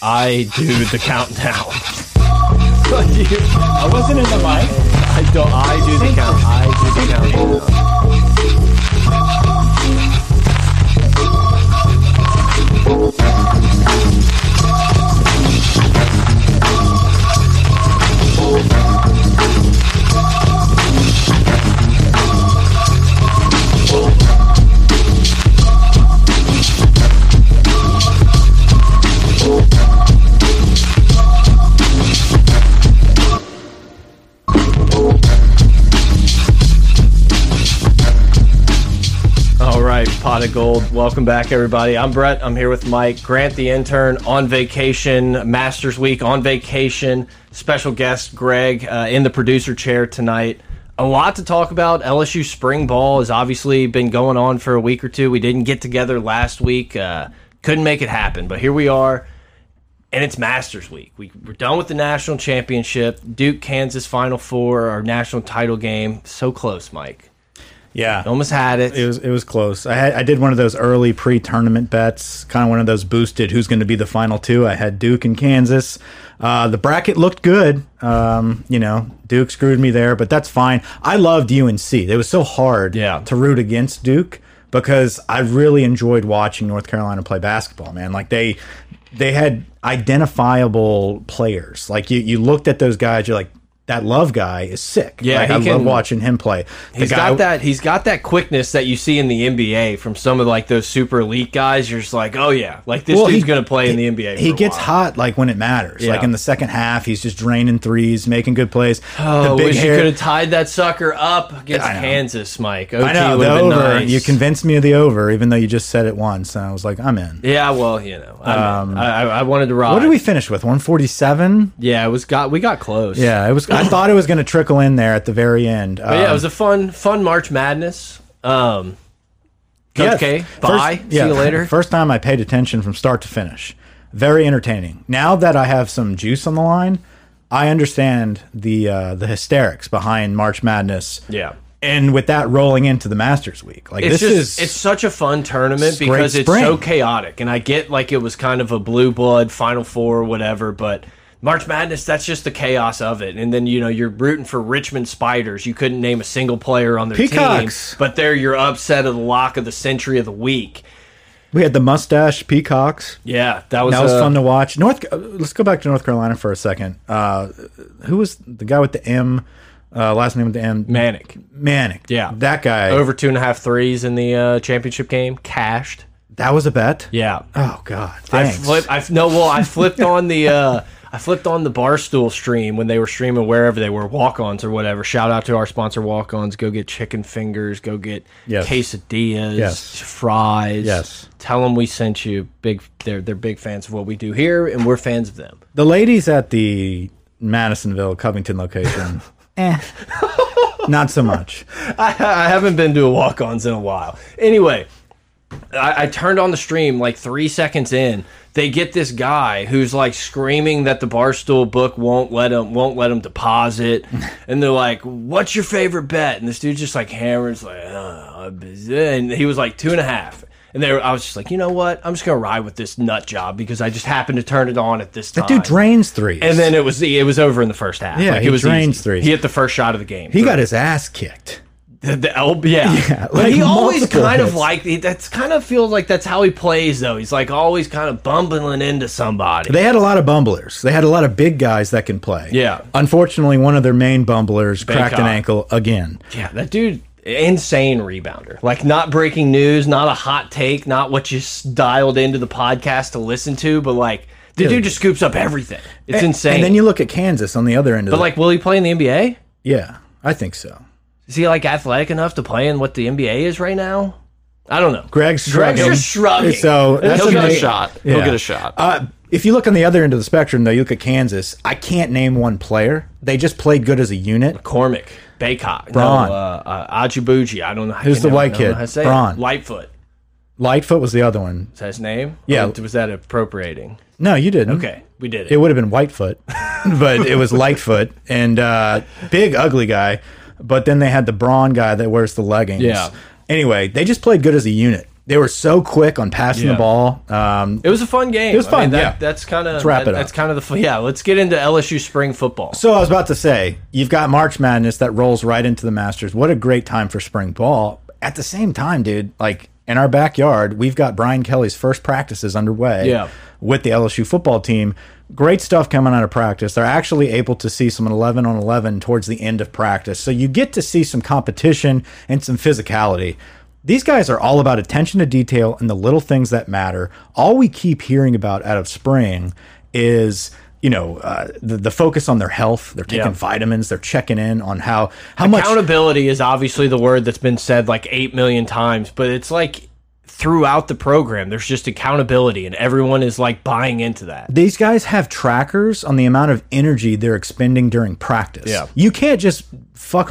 I do the countdown. I wasn't in the mic. I don't. I do the count. I do the countdown. All right, pot of gold. Welcome back, everybody. I'm Brett. I'm here with Mike Grant, the intern, on vacation. Masters Week on vacation. Special guest Greg uh, in the producer chair tonight. A lot to talk about. LSU spring ball has obviously been going on for a week or two. We didn't get together last week. Uh, couldn't make it happen, but here we are and it's Masters Week. We, we're done with the national championship. Duke, Kansas, Final Four, our national title game. So close, Mike. Yeah, Almost had it. it was it was close. I had I did one of those early pre-tournament bets, kind of one of those boosted. Who's going to be the final two? I had Duke and Kansas. Uh, the bracket looked good. Um, you know, Duke screwed me there, but that's fine. I loved UNC. It was so hard Yeah. to root against Duke because I really enjoyed watching North Carolina play basketball, man. Like they they had identifiable players. Like you you looked at those guys, you're like that love guy is sick. Yeah, like, he I love can- watching him play. The He's got that. He's got that quickness that you see in the NBA from some of like those super elite guys. You're just like, oh yeah, like this dude's he- going to play he- in the NBA. He for a gets while. hot like when it matters. Like Yeah. in the second half, he's just draining threes, making good plays. Oh, the wish big you hair. could have tied that sucker up against I know. Kansas, Mike. OT I know would the have been over. nice. You convinced me of the over, even though you just said it once, and I was like, I'm in. Yeah, well, you know, I'm in. I, I, I wanted to ride. Um, What did we finish with? 147. Yeah, it was got. We got close. Yeah, it was. I thought it was going to trickle in there at the very end. But yeah, Um, it was a fun, fun March Madness. Um, Coach yeah, K, Um, first- bye. yeah, See you later. First time I paid attention from start to finish. Very entertaining. Now that I have some juice on the line, I understand the uh, the hysterics behind March Madness. yeah, and with that rolling into the Masters week, like it's this just is it's such a fun tournament Great because it's spring. so chaotic, and I get like it was kind of a blue blood Final Four or whatever, but. March Madness, that's just the chaos of it. And then, you know, you're rooting for Richmond Spiders. You couldn't name a single player on their Peacocks. team, but they're your upset of the lock of the century of the week. we had the mustache peacocks. Yeah, that was, That was uh, fun to watch. North, uh, let's go back to North Carolina for a second. Uh, who was the guy with the M? Uh, last name with the M. manic. Manic. Yeah. that guy. Over two and a half threes in the uh, championship game, cashed. That was a bet. Yeah. Oh God. I Thanks. flip. I no. Well, I flipped on the. Uh, I flipped on the barstool stream when they were streaming wherever they were walk-ons or whatever. Shout out to our sponsor walk-ons. Go get chicken fingers. Go get Yes. quesadillas, Yes. fries. Yes. Tell them we sent you. Big. They're they're big fans of what we do here, and we're fans of them. the ladies at the Madisonville Covington location. eh. Not so much. I, I haven't been to a walk-ons in a while. Anyway, I, I turned on the stream like three seconds in. They get this guy who's like screaming that the barstool book won't let him won't let him deposit, and they're like, "What's your favorite bet?" And this dude's just like hammers like, uh, and he was like two and a half. And they were, I was just like, you know what? I'm just gonna ride with this nut job because I just happened to turn it on at this time. Dude drains threes. and then it was the it was over in the first half. Yeah, like, he it was drains easy. threes. He hit the first shot of the game. he got his ass kicked. The, the elb- yeah. but like he always multiple kind of hits. like that's kind of feels like that's how he plays though. He's like always kind of bumbling into somebody. They had a lot of bumblers. They had a lot of big guys that can play. Yeah. Unfortunately, one of their main bumblers cracked an Baycock. ankle again. yeah, that dude insane rebounder. Like not breaking news, not a hot take, not what you s- dialed into the podcast to listen to, but like the dude just scoops up everything. It's insane. And then you look at Kansas on the other end of but the like will he play in the NBA? Yeah, I think so. Is he like athletic enough to play in what the NBA is right now? I don't know. Greg's shrugging. just shrugging. So that's He'll get a amazing. shot. Yeah. He'll get a shot. Uh, if you look on the other end of the spectrum, though, you look at Kansas. I can't name one player. They just played good as a unit. Cormick, Baycock, Braun. no, uh, uh, Ajibuji. I don't know. I Who's can the never- white I don't know kid? how to say it. Braun. Lightfoot. Lightfoot was the other one. Is that his name? Yeah. Or was that appropriating? No, you didn't. Okay, we did it. It would have been Whitefoot, but it was Lightfoot and uh, big ugly guy. But then they had the brawn guy that wears the leggings. Yeah. Anyway, they just played good as a unit. They were so quick on passing Yeah. the ball. Um, It was a fun game. It was fun, that, yeah. That's kind of wrap it That's up. kind of the fu- yeah. Let's get into LSU spring football. So I was about to say, you've got March Madness that rolls right into the Masters. What a great time for spring ball. At the same time, dude, like in our backyard, we've got Brian Kelly's first practices underway Yeah. with the LSU football team. Great stuff coming out of practice. They're actually able to see some 11 on 11 towards the end of practice. So you get to see some competition and some physicality. These guys are all about attention to detail and the little things that matter. All we keep hearing about out of spring is, you know, uh, the, the focus on their health. They're taking Yeah. vitamins. They're checking in on how how much Accountability is obviously the word that's been said like eight million times, but it's like throughout the program, there's just accountability, and everyone is like buying into that. these guys have trackers on the amount of energy they're expending during practice. Yeah. You can't just fuck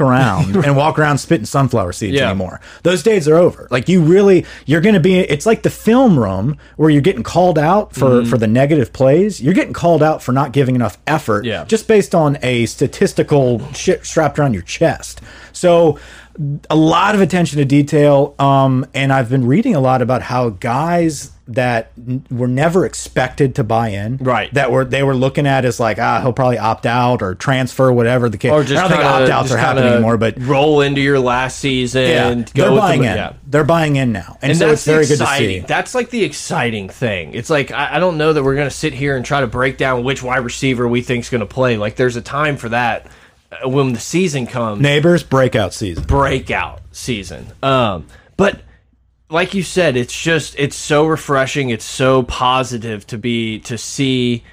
around and walk around spitting sunflower seeds Yeah. anymore. Those days are over. Like you really you're going to be it's like the film room where you're getting called out Mm-hmm. for for the negative plays. You're getting called out for not giving enough effort Yeah. just based on a statistical shit strapped around your chest. So a lot of attention to detail um and I've been reading a lot about how guys that n- were never expected to buy in Right. that were they were looking at as like ah he'll probably opt out or transfer whatever the case Or just I don't think kinda- opt outs just are happening kinda anymore but roll into your last season. go yeah they're with the- buying in yeah. they're buying in now and, And so that's it's very the good to exciting. see That's like the exciting thing. It's like I, I don't know that we're going to sit here and try to break down which wide receiver we think's going to play. Like there's a time for that uh, when the season comes. neighbors breakout season breakout season. Um, but like you said, it's just it's so refreshing. It's so positive to be to see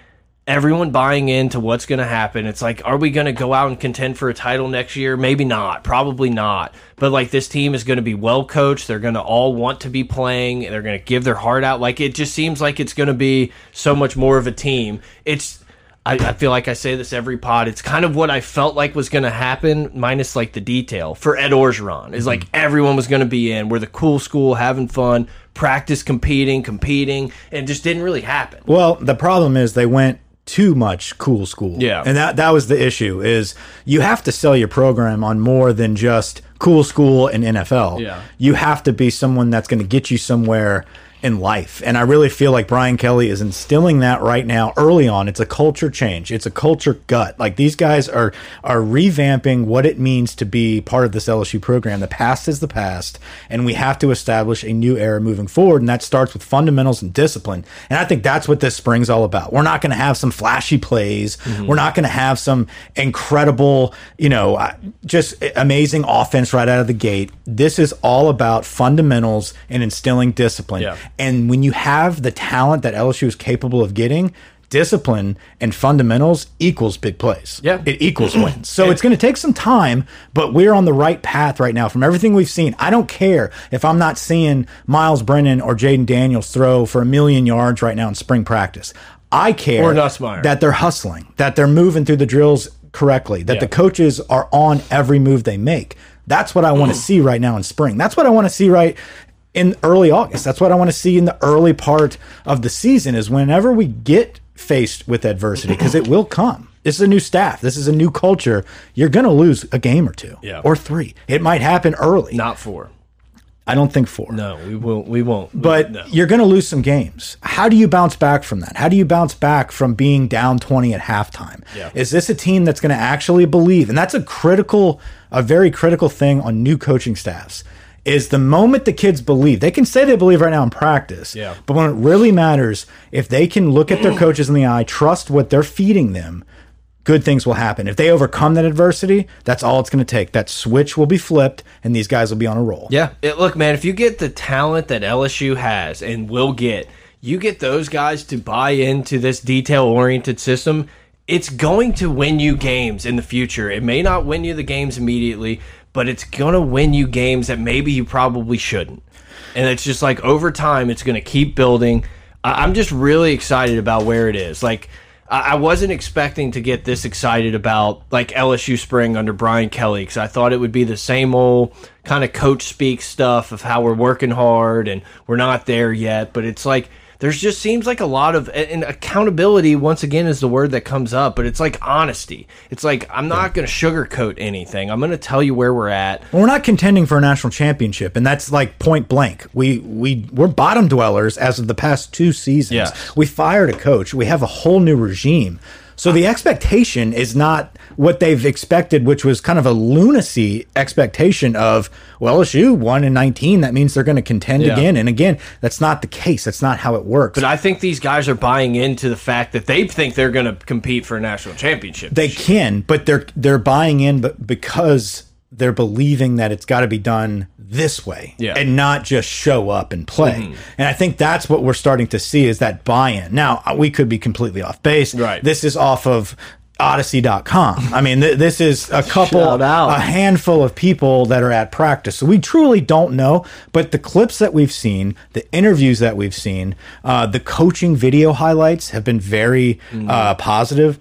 everyone buying into what's going to happen. It's like, are we going to go out and contend for a title next year? Maybe not. Probably not. But like this team is going to be well coached. They're going to all want to be playing. They're going to give their heart out. Like it just seems like it's going to be so much more of a team. It's I, I feel like I say this every pod. It's kind of what I felt like was going to happen, minus like the detail for Ed Orgeron. Is like everyone was going to be in. We're the cool school, having fun, practice, competing, competing, and it just didn't really happen. Well, the problem is they went too much cool school. Yeah. And that that was the issue is you have to sell your program on more than just cool school and NFL. Yeah. You have to be someone that's going to get you somewhere in life. And I really feel like Brian Kelly is instilling that right now early on. It's a culture change. It's a culture gut. Like these guys are are revamping what it means to be part of this LSU program. The past is the past and we have to establish a new era moving forward and that starts with fundamentals and discipline. And I think that's what this spring's all about. We're not going to have some flashy plays. Mm-hmm. We're not going to have some incredible, you know, uh, just amazing offense right out of the gate. This is all about fundamentals and instilling discipline. Yeah. And when you have the talent that LSU is capable of getting, discipline and fundamentals equals big plays. Yeah. It equals wins. So it's going to take some time, but we're on the right path right now from everything we've seen. I don't care if I'm not seeing Miles Brennan or Jaden Daniels throw for a million yards right now in spring practice. I care Or Nussmeier. that they're hustling, that they're moving through the drills correctly, that the coaches are on every move they make. That's what I want to Mm. see right now in spring. That's what I want to see right in early August. That's what I want to see in the early part of the season is whenever we get faced with adversity because it will come. This is a new staff. This is a new culture. You're going to lose a game or two Yeah. or three. It might happen early. Not for I don't think four. no, we won't. We won't. But no. you're going to lose some games. How do you bounce back from that? How do you bounce back from being down 20 at halftime? Yeah. Is this a team that's going to actually believe? And that's a critical, a very critical thing on new coaching staffs. Is the moment the kids believe, they can say they believe right now in practice. Yeah. But when it really matters, if they can look at their coaches in the eye, trust what they're feeding them, good things will happen. If they overcome that adversity, that's all it's going to take. That switch will be flipped and these guys will be on a roll. Yeah. It, look, man, if you get the talent that LSU has and will get, you get those guys to buy into this detail oriented system. It's going to win you games in the future. It may not win you the games immediately, but it's going to win you games that maybe you probably shouldn't. And it's just like over time, it's going to keep building. I I'm just really excited about where it is. Like, I I wasn't expecting to get this excited about like LSU spring under Brian Kelly because I thought it would be the same old kind of coach speak stuff of how we're working hard and we're not there yet. But it's like there's just seems like a lot of and and accountability once again is the word that comes up, but it's like honesty. It's like I'm not going to sugarcoat anything. I'm going to tell you where we're at. Well, we're not contending for a national championship, and that's like point blank. We we we're bottom dwellers as of the past two seasons. Yeah. We fired a coach. We have a whole new regime. So the expectation is not what they've expected, which was kind of a lunacy expectation of, well, LSU won in 19. That means they're going to contend Yeah. again and again. That's not the case. That's not how it works. But I think these guys are buying into the fact that they think they're going to compete for a national championship. They can, but they're they're buying in, but because they're believing that it's got to be done this way, Yeah. Mm-hmm. and not just show up and play. And I think that's what we're starting to see is that buy-in. Now uh, we could be completely off base. Right. This is off of odyssey.com i mean th this is a couple Shout out. a handful of people that are at practice so we truly don't know but the clips that we've seen the interviews that we've seen uh, the coaching video highlights have been very Mm. uh, positive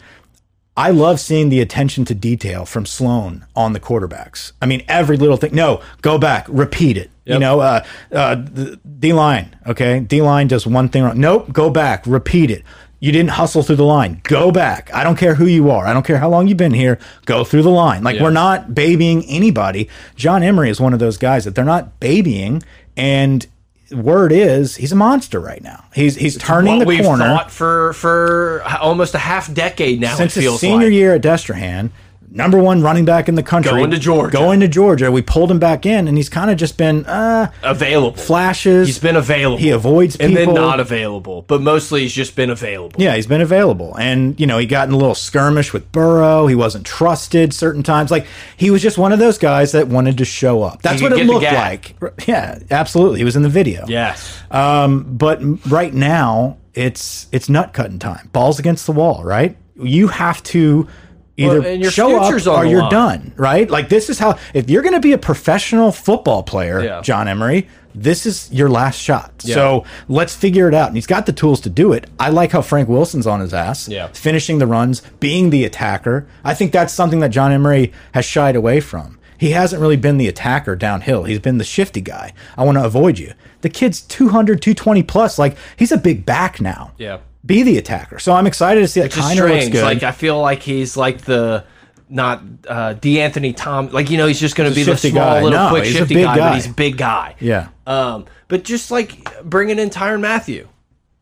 I love seeing the attention to detail from Sloan on the quarterbacks. I mean, every little thing. No, go back, repeat it. You know, uh, uh, the D line, okay? D line does one thing wrong. Nope, go back, repeat it. You didn't hustle through the line. Go back. I don't care who you are. I don't care how long you've been here. Go through the line. Like, we're not babying anybody. John Emery is one of those guys that they're not babying. And word is he's a monster right now. He's he's turning what the we've corner thought for for h- almost a half decade now. since it his feels senior like. year at Destrehan, number one running back in the country, Going to Georgia. going to Georgia. We pulled him back in, and he's kind of just been uh, available. flashes. He's been available. He avoids people. and then not available, but mostly he's just been available. yeah, he's been available, and you know he got in a little skirmish with Burrow. He wasn't trusted certain times. Like he was just one of those guys that wanted to show up. That's He what could it get the looked gag. like. Yeah, absolutely. He was in the video. Yes. Um, but m- right now, it's it's nut cutting time. Balls against the wall, right? You have to either Well, and your show up future's on or the you're line. done, right? Like this is how if you're going to be a professional football player, Yeah. John Emery, this is your last shot. So let's figure it out. And he's got the tools to do it. I like how Frank Wilson's on his ass, Yeah. finishing the runs, being the attacker. I think that's something that John Emery has shied away from. He hasn't really been the attacker downhill. He's been the shifty guy. I want to avoid you. The kid's 200, 220 plus. Like, he's a big back now. Yeah. Be the attacker. So I'm excited to see that It's just kind of looks strange. good. Like I feel like he's like the not uh D'Anthony Tom like you know he's just gonna be the shifty small guy. little No, quick he's a shifty big guy, guy. but he's a big guy. yeah. Um but just like bringing in Tyron Matthew.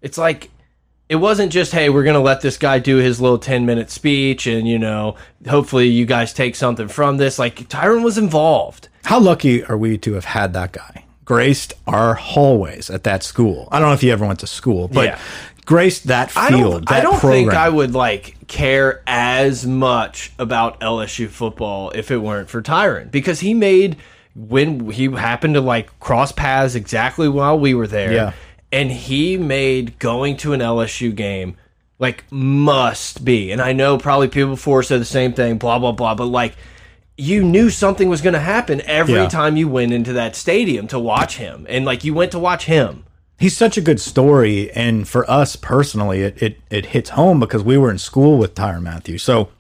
It's like it wasn't just hey we're gonna let this guy do his little 10 minute speech and you know hopefully you guys take something from this like Tyron was involved How lucky are we to have had that guy? Graced our hallways at that school. I don't know if you ever went to school, but Yeah. graced that field, I don't, that I don't program. think I would like care as much about LSU football if it weren't for Tyron because he made when he happened to like cross paths exactly while we were there. Yeah. And he made going to an LSU game like must be. And I know probably people before said the same thing, blah, blah, blah, but like you knew something was going to happen every Yeah. time you went into that stadium to watch him. And like you went to watch him. he's such a good story and for us personally it it, it hits home because we were in school with Tyron Matthew so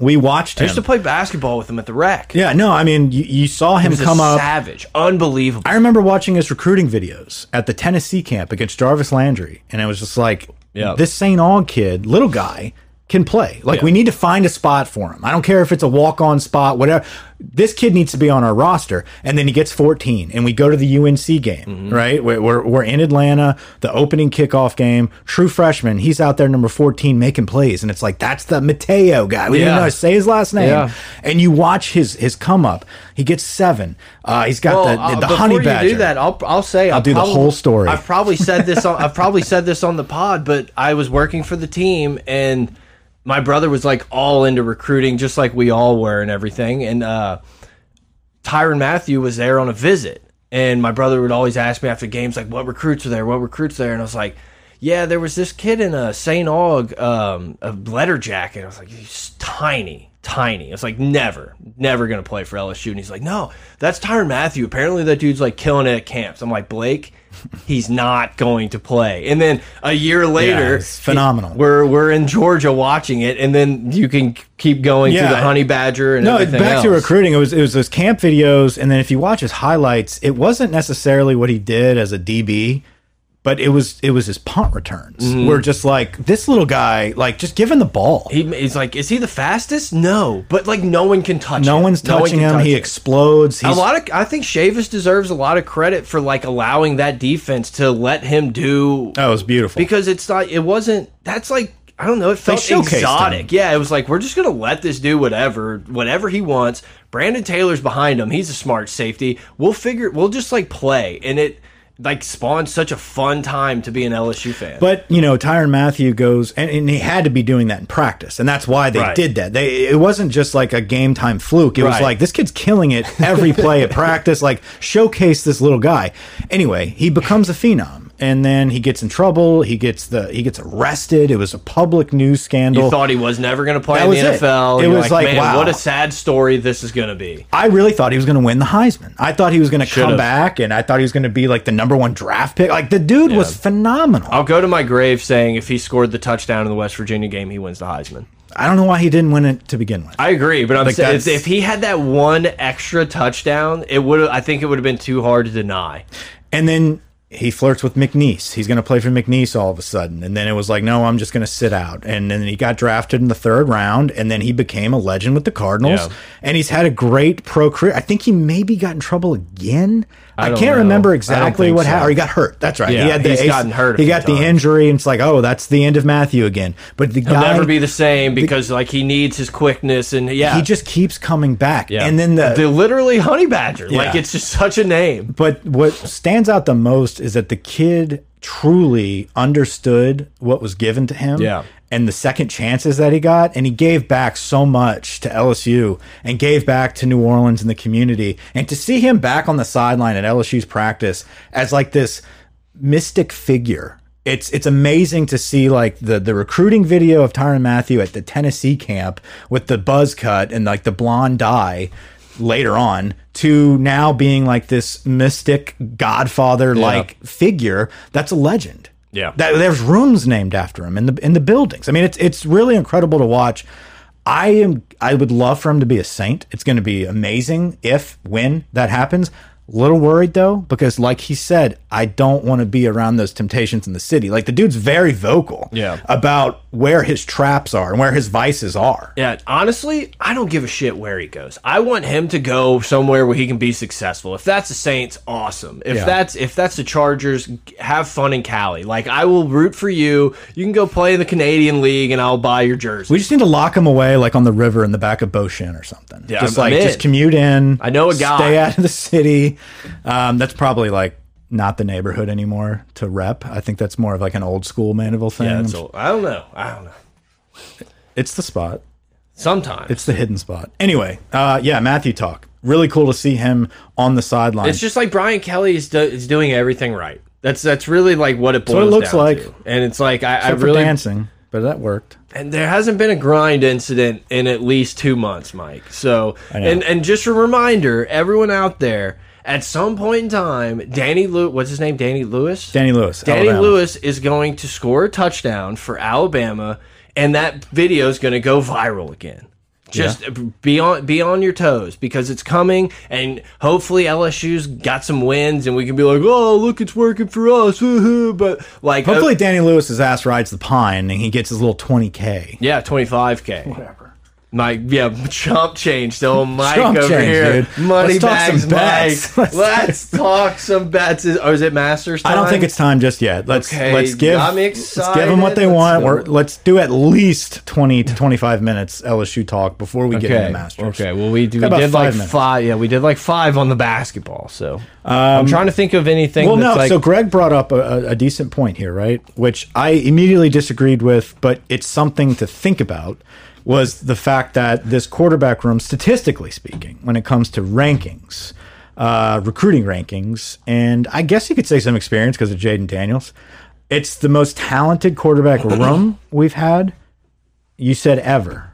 we watched I used to him play basketball with him at the rec. yeah no i mean you, you saw him He's a come up savage, unbelievable. i remember watching his recruiting videos at the tennessee camp against jarvis landry and it was just like Yeah. this st aug kid little guy can play like we need to find a spot for him i don't care if it's a walk-on spot whatever this kid needs to be on our roster and then he gets 14 and we go to the unc game Mm-hmm. right we're, we're, we're in atlanta the opening kickoff game true freshman he's out there number 14 making plays and it's like that's the mateo guy we didn't Yeah. know how to say his last name Yeah. and you watch his his come up he gets seven uh, he's got Well, the, uh, the, honey before badger you do that, I'll I'll say I'll, do the whole story. I've probably said this on I've probably said this on the pod, but I was working for the team and my brother was like all into recruiting, just like we all were and everything. And uh, Tyron Matthew was there on a visit, and my brother would always ask me after games like, "What recruits are there? What recruits are there?" And I was like. Yeah, there was this kid in a St. Aug um, a letter jacket. I was like, he's tiny, tiny. I was like, never, never gonna play for LSU. And he's like, no, that's Tyron Matthew. Apparently, that dude's like killing it at camps. I'm like, Blake, he's not going to play. And then a year later, it's phenomenal. he- we're we're in Georgia watching it, and then you can keep going Yeah. through the honey badger and no, it- everything back to else. recruiting. It was it was those camp videos, and then if you watch his highlights, it wasn't necessarily what he did as a DB, but it was it was his punt returns. We're just like this little guy, like just give him the ball. Mm-hmm. He, he's like, is he the fastest? No, but like no one can touch no him. one's No one touching can him. touch he explodes. He's a lot of I think Chavis deserves a lot of credit for like allowing that defense to let him do oh, it's beautiful. because it's not it wasn't that's like I don't know it felt showcased him. exotic. Yeah, it was like we're just gonna let this do whatever whatever he wants. Brandon Taylor's behind him. He's a smart safety. We'll figure. We'll just like play and it. Like spawned such a fun time to be an LSU fan. But you know, Tyron Matthew goes, and, and he had to be doing that in practice, and that's why they Right. did that. They it wasn't just like a game time fluke. It was Right. like this kid's killing it every play at practice. Like showcase this little guy. Anyway, he becomes a phenom, and then he gets in trouble. He gets the he gets arrested. It was a public news scandal. you thought he was never going to play That in the was it. NFL. It You're was like, man, wow. what a sad story this is going to be. I really thought he was going to win the Heisman. I thought he was going to come Should've. back, and I thought he was going to be like the number one draft pick. Like the dude was phenomenal. I'll go to my grave saying if he scored the touchdown in the West Virginia game, he wins the Heisman. I don't know why he didn't win it to begin with. I agree, but I'm saying if, that's- if he had that one extra touchdown, it would. I think it would have been too hard to deny. And then he flirts with McNeese. He's going to play for McNeese all of a sudden. And then it was like, no, I'm just going to sit out. And then he got drafted in the third round. And then he became a legend with the Cardinals. Yeah. And he's had a great pro career. I think he maybe got in trouble again. I, don't can't know. remember I don't exactly think what so. happened. Or he got hurt. That's right. Yeah, he had the he's gotten hurt a He few got the times. injury. And it's like, oh, that's the end of Matthew again. But the He'll guy never be the same because like he needs his quickness and yeah, he just keeps coming back. yeah. And then the, They're literally honey badger. Like Yeah. it's just such a name. but what stands out the most is that the kid truly understood what was given to him Yeah. and the second chances that he got and he gave back so much to LSU and gave back to New Orleans and the community and to see him back on the sideline at LSU's practice as like this mystic figure it's it's amazing to see like the the recruiting video of Tyron Matthew at the Tennessee camp with the buzz cut and like the blonde dye later on to now being like this mystic godfather like figure that's a legend. Yeah. That there's rooms named after him in the in the buildings. I mean it's it's really incredible to watch. I am I would love for him to be a saint. It's going to be amazing if when that happens. Little worried though because like he said, I don't want to be around those temptations in the city. Like the dude's very vocal Yeah. about where his traps are and where his vices are. Yeah, honestly, I don't give a shit where he goes. I want him to go somewhere where he can be successful. If that's the Saints, awesome. If Yeah. that's if that's the Chargers, have fun in Cali. Like I will root for you. You can go play in the Canadian League, and I'll buy your jersey. We just need to lock him away, like on the river in the back of Beauchene or something. Yeah, just I'm- like I'm just in. commute in. I know a guy. Stay out of the city. Um, that's probably like not the neighborhood anymore to rep. I think that's more of like an old school Mandeville thing. Yeah, that's all. I don't know. I don't know. it's the spot. Sometimes it's, It's the hidden spot. Anyway, uh, yeah, Matthew talk. Really cool to see him on the sideline. just like Brian Kelly is, do, is doing everything right. That's that's really like what it boils what it looks down like. to. and it's like I, I Except for really dancing, but that worked. and there hasn't been a grind incident in at least two months, Mike. So, and and just a reminder, everyone out there, at some point in time, Danny Lew what's his name, Danny Lewis, Danny Lewis. Danny Alabama. Lewis is going to score a touchdown for Alabama, and that video is going to go viral again. Just be on be on your toes because it's coming, and hopefully LSU's got some wins, and we can be like, oh look, it's working for us. woohoo." but like, uh, Hopefully, Danny Lewis's ass rides the pine and he gets his little 20K. yeah, twenty five k. Whatever. My yeah, chump change. So Mike Chump over change, here, dude. money Let's talk some bags, Mike. bets. Let's- Let's talk some bets. Is, or is it Masters? Time? I don't think it's time just yet. Let's Okay, let's give I'm let's give them what they excited. want. We're, Let's do let's do at least twenty to twenty five minutes LSU talk before we get into Masters. Okay. Well, we, do, Got we about did like five minutes. five. Yeah, we did like five on the basketball. So I'm trying to think of anything. Um, Well, that's no. like, so Greg brought up a, a- a decent point here, right? Which I immediately disagreed with, but it's something to think about. Was the fact that this quarterback room, statistically speaking, when it comes to rankings, uh, recruiting rankings, and I guess you could say some experience because of Jaden Daniels, it's the most talented quarterback room we've had. You said ever.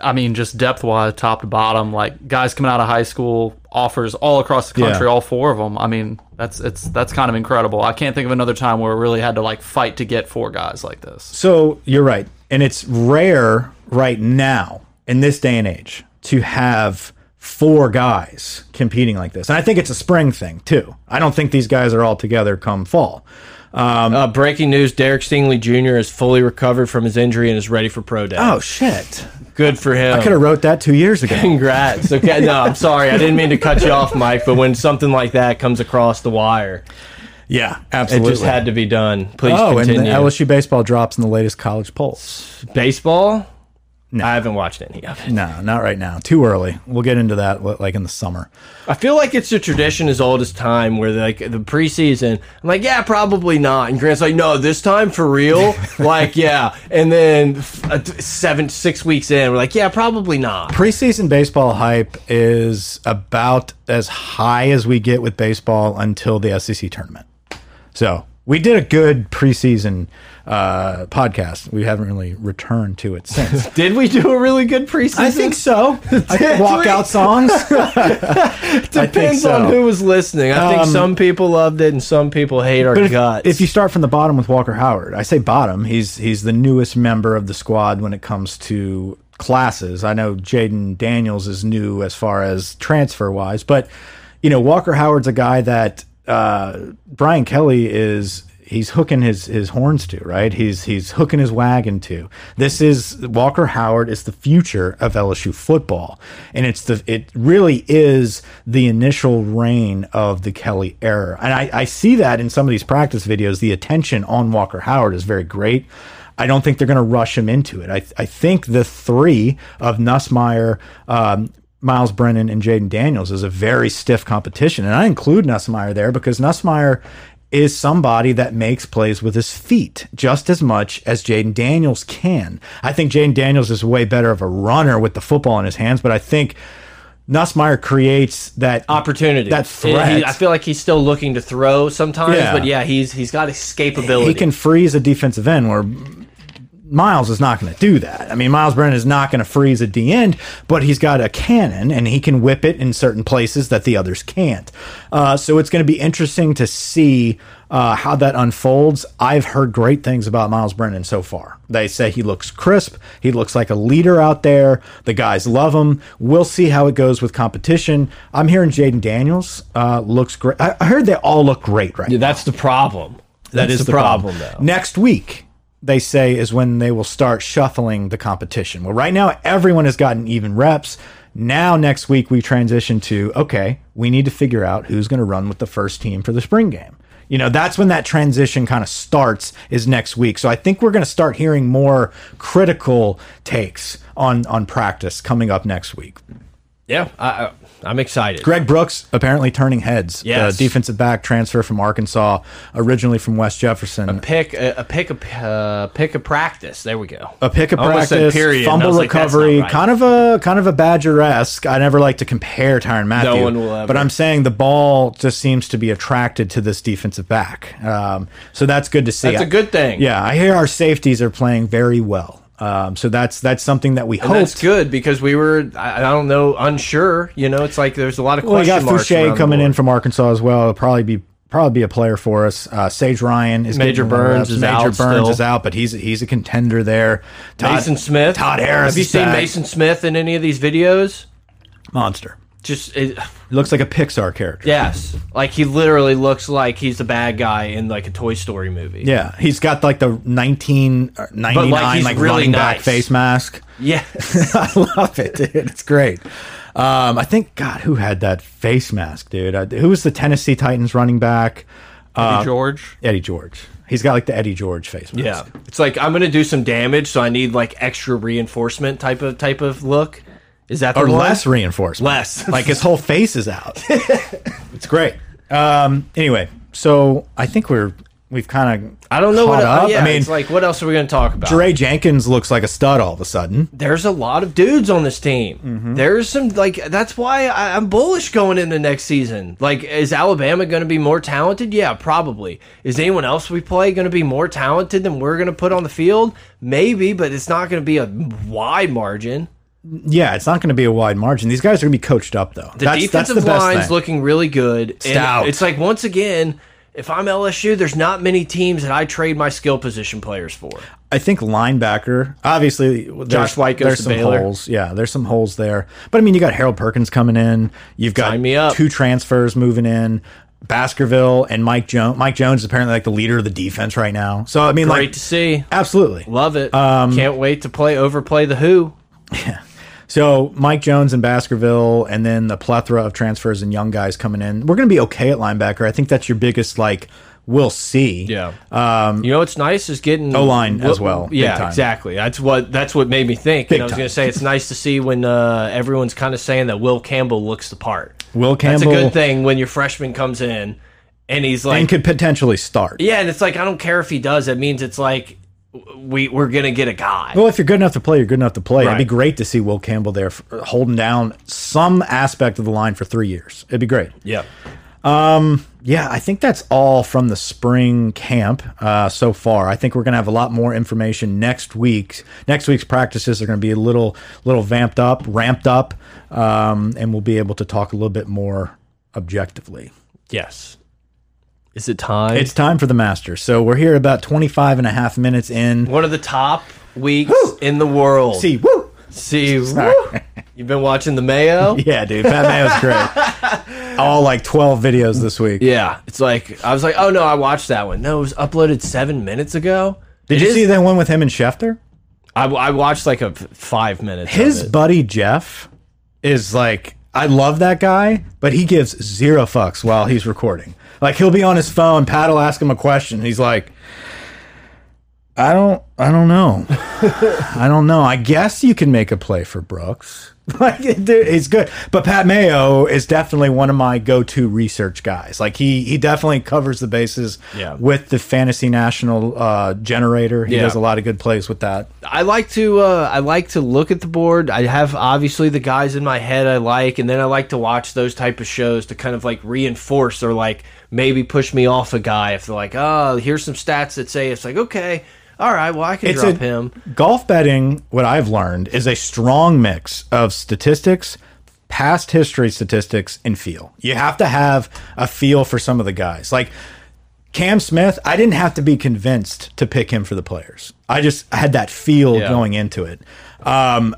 I mean, just depth wise, top to bottom, like guys coming out of high school, offers all across the country, Yeah. all four of them. I mean, that's it's that's kind of incredible. I can't think of another time where we really had to like fight to get four guys like this. So you're right. And it's rare right now in this day and age to have four guys competing like this. And I think it's a spring thing too. I don't think these guys are all together come fall. Um, Uh, breaking news: Derek Stingley Jr. is fully recovered from his injury and is ready for pro day. oh shit! good for him! I could have wrote that two years ago. Congrats. Okay, no, I'm sorry. I didn't mean to cut you off, Mike. But when something like that comes across the wire, yeah, it absolutely. just had to be done. Please oh, continue. and the LSU baseball drops in the latest college polls. Baseball. I haven't watched any of it. No, not right now. Too early. We'll get into that li- like in the summer. I feel like it's a tradition as old as time where like the preseason, I'm like, yeah, probably not. And Grant's like, no, this time for real? like, yeah. And then f- uh, th- seven, six weeks in, we're like, yeah, probably not. Preseason baseball hype is about as high as we get with baseball until the SEC tournament. So we did a good preseason uh, podcast. We haven't really returned to it since. Did we do a really good preseason? I think so. Did we? Walkout songs. Depends so. on who was listening. I think Um, some people loved it and some people hate our But if, guts. if you start from the bottom with Walker Howard, I say bottom. He's he's the newest member of the squad when it comes to classes. I know Jaden Daniels is new as far as transfer wise, but you know Walker Howard's a guy that uh, Brian Kelly is. He's hooking his his horns to right. He's he's hooking his wagon to. This is Walker Howard is the future of LSU football, and it's the it really is the initial reign of the Kelly era. And I, I see that in some of these practice videos. The attention on Walker Howard is very great. I don't think they're going to rush him into it. I, I think the three of Nussmeyer, um, Miles Brennan, and Jaden Daniels is a very stiff competition. And I include Nussmeyer there because Nussmeyer is somebody that makes plays with his feet just as much as Jaden Daniels can. I think Jaden Daniels is way better of a runner with the football in his hands, but I think Nussmeyer creates that opportunity. that threat. He- he- I feel like he's still looking to throw sometimes, Yeah. but yeah, he's he's got escapability. he can freeze a defensive end where Miles is not going to do that. I mean, Miles Brennan is not going to freeze a D end, but he's got a cannon and he can whip it in certain places that the others can't. Uh, so it's going to be interesting to see uh, how that unfolds. I've heard great things about Miles Brennan so far. They say he looks crisp, he looks like a leader out there. The guys love him. We'll see how it goes with competition. I'm hearing Jaden Daniels uh, looks great. I, I heard they all look great right Yeah, that's the problem. that's That's the, problem. Next week, they say, is when they will start shuffling the competition. Well, right now, everyone has gotten even reps. Now, next week, we transition to okay, we need to figure out who's going to run with the first team for the spring game. You know, that's when that transition kind of starts is next week. So I think we're going to start hearing more critical takes on on practice coming up next week. Yeah, I, I, I'm excited. Greg Brooks apparently turning heads. Yes. The defensive back transfer from Arkansas, originally from West Jefferson. Pick a, a pick a uh, pick a practice. There we go. a pick a I almost said practice, period, and I fumble was like, that's recovery, not right. kind of a kind of a Badger esque. I never like to compare Tyron Matthew, one will ever. but I'm saying the ball just seems to be attracted to this defensive back. Um, so that's good to see. That's a good thing. Yeah, I hear our safeties are playing very well. Um, so that's that's something that we hope. That's good because we were, I, I don't know, unsure. You know, it's like there's a lot of Well, we question got marks. Fouché around the coming in board. from Arkansas as well. He'll probably be probably be a player for us. Uh, Sage Ryan is Major getting the Burns reps. is Major out Burns still. is out, but he's he's a contender there. Todd, Mason Smith. Todd Harris. Have you is seen back. Mason Smith in any of these videos? Monster. Just it, Looks like a Pixar character. yes, like he literally looks like he's the bad guy in like a Toy Story movie. Yeah, he's got like the 1999 But, like, like, he's really running back nice. face mask. Yeah, I love it, dude. It's great. Um, I think God, who had that face mask, dude? I, who was the Tennessee Titans running back? Eddie George. Eddie George. He's got like the Eddie George face mask. yeah. It's like I'm gonna do some damage, so I need like extra reinforcement type of type of look. Is that the or one? less reinforcement. Less. like his whole face is out. it's great. Um, anyway, so I think we're we've kind of I don't know what. up. yeah, I mean, it's like what else are we gonna talk about? Ray Jenkins looks like a stud all of a sudden. there's a lot of dudes on this team. There's some like that's why I, I'm bullish going into next season. Like, is Alabama going to be more talented? Yeah, probably. Is anyone else we play going to be more talented than we're going to put on the field? Maybe, but it's not going to be a wide margin. Yeah, it's not going to be a wide margin. These guys are going to be coached up, though. The defensive line's looking really good. Stout. And it's like once again. If I'm LSU, there's not many teams that I trade my skill position players for. I think linebacker. Obviously, there's, Josh White goes there's to some Baylor. holes. Yeah, there's some holes there. But I mean, you got Harold Perkins coming in. You've got Sign me up. two transfers moving in. Baskerville and Mike Jones. Mike Jones is apparently like the leader of the defense right now. So I mean, Great like to see. absolutely. Love it. Can't wait to play overplay the Who. So Mike Jones and Baskerville, and then the plethora of transfers and young guys coming in. We're going to be okay at linebacker. I think that's your biggest like. We'll see. Um, you know what's nice is getting O-line as well, big Yeah, time. exactly. That's what that's what made me think. And Big I was time. going to say it's nice to see when uh, everyone's kind of saying that Will Campbell looks the part. Will That's Campbell a good thing when your freshman comes in and he's like, and could potentially start. yeah, and it's like I don't care if he does. It means it's like w- we we're going to get a guy. Well, if you're good enough to play, you're good enough to play. It'd be Right. great to see Will Campbell there f holding down some aspect of the line for three years. It'd be great. yeah. Yeah, I think that's all from the spring camp uh, so far. I think we're going to have a lot more information next week. Next week's practices are going to be a little, little vamped up, ramped up, um, and we'll be able to talk a little bit more objectively. Yes. Is it time? It's time for the Masters. So we're here about 25 and a half minutes in. one of the top weeks in the world. See, woo! See, woo! you've been watching the Mayo. Yeah, dude, Fat Man was great. All like 12 videos this week. Yeah, it's like I was like, oh no, I watched that one. No, it was uploaded seven minutes ago. Did you see that one with him and Schefter? I, I watched like a f- five minutes. of His it. buddy Jeff is like, I love that guy, but he gives zero fucks while he's recording. Like he'll be on his phone, Pat will ask him a question, and he's like, I don't I don't know. I don't know. I guess you can make a play for Brooks. Like dude, he's good. But Pat Mayo is definitely one of my go-to research guys. Like he he definitely covers the bases Yeah. with the fantasy national uh generator. He Yeah. does a lot of good plays with that. I like to uh, I like to look at the board. I have obviously the guys in my head I like, and then I like to watch those type of shows to kind of like reinforce or like maybe push me off a guy if they're like, oh, here's some stats that say it's like okay, all right, well I can drop him. Golf betting, what I've learned, is a strong mix of statistics, past history statistics, and feel. You have to have a feel for some of the guys. Like Cam Smith, I didn't have to be convinced to pick him for the players. I just had that feel Yeah. going into it. Um,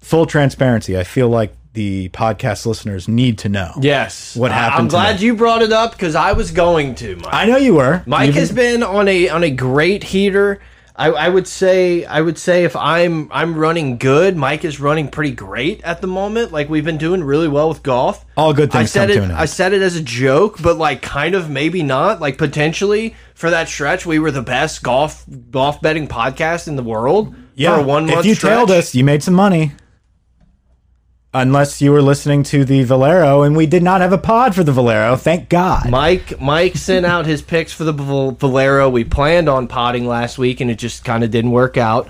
full transparency, I feel like the podcast listeners need to know. Yes, What I- I'm happened glad tonight? you brought it up because I was going to. Mike. I know you were. Mike You've- has been on a on a great heater. I, I would say I would say if I'm I'm running good, Mike is running pretty great at the moment. Like we've been doing really well with golf. All good I things said come to it. an end. I said it as a joke, but like kind of maybe not. Like potentially for that stretch, we were the best golf golf betting podcast in the world yeah. for a one month. If you stretch. tailed us, you made some money. Unless you were listening to the Valero, and we did not have a pod for the Valero. Thank God. Mike Mike sent out his picks for the Val- Valero. We planned on potting last week, and it just kind of didn't work out.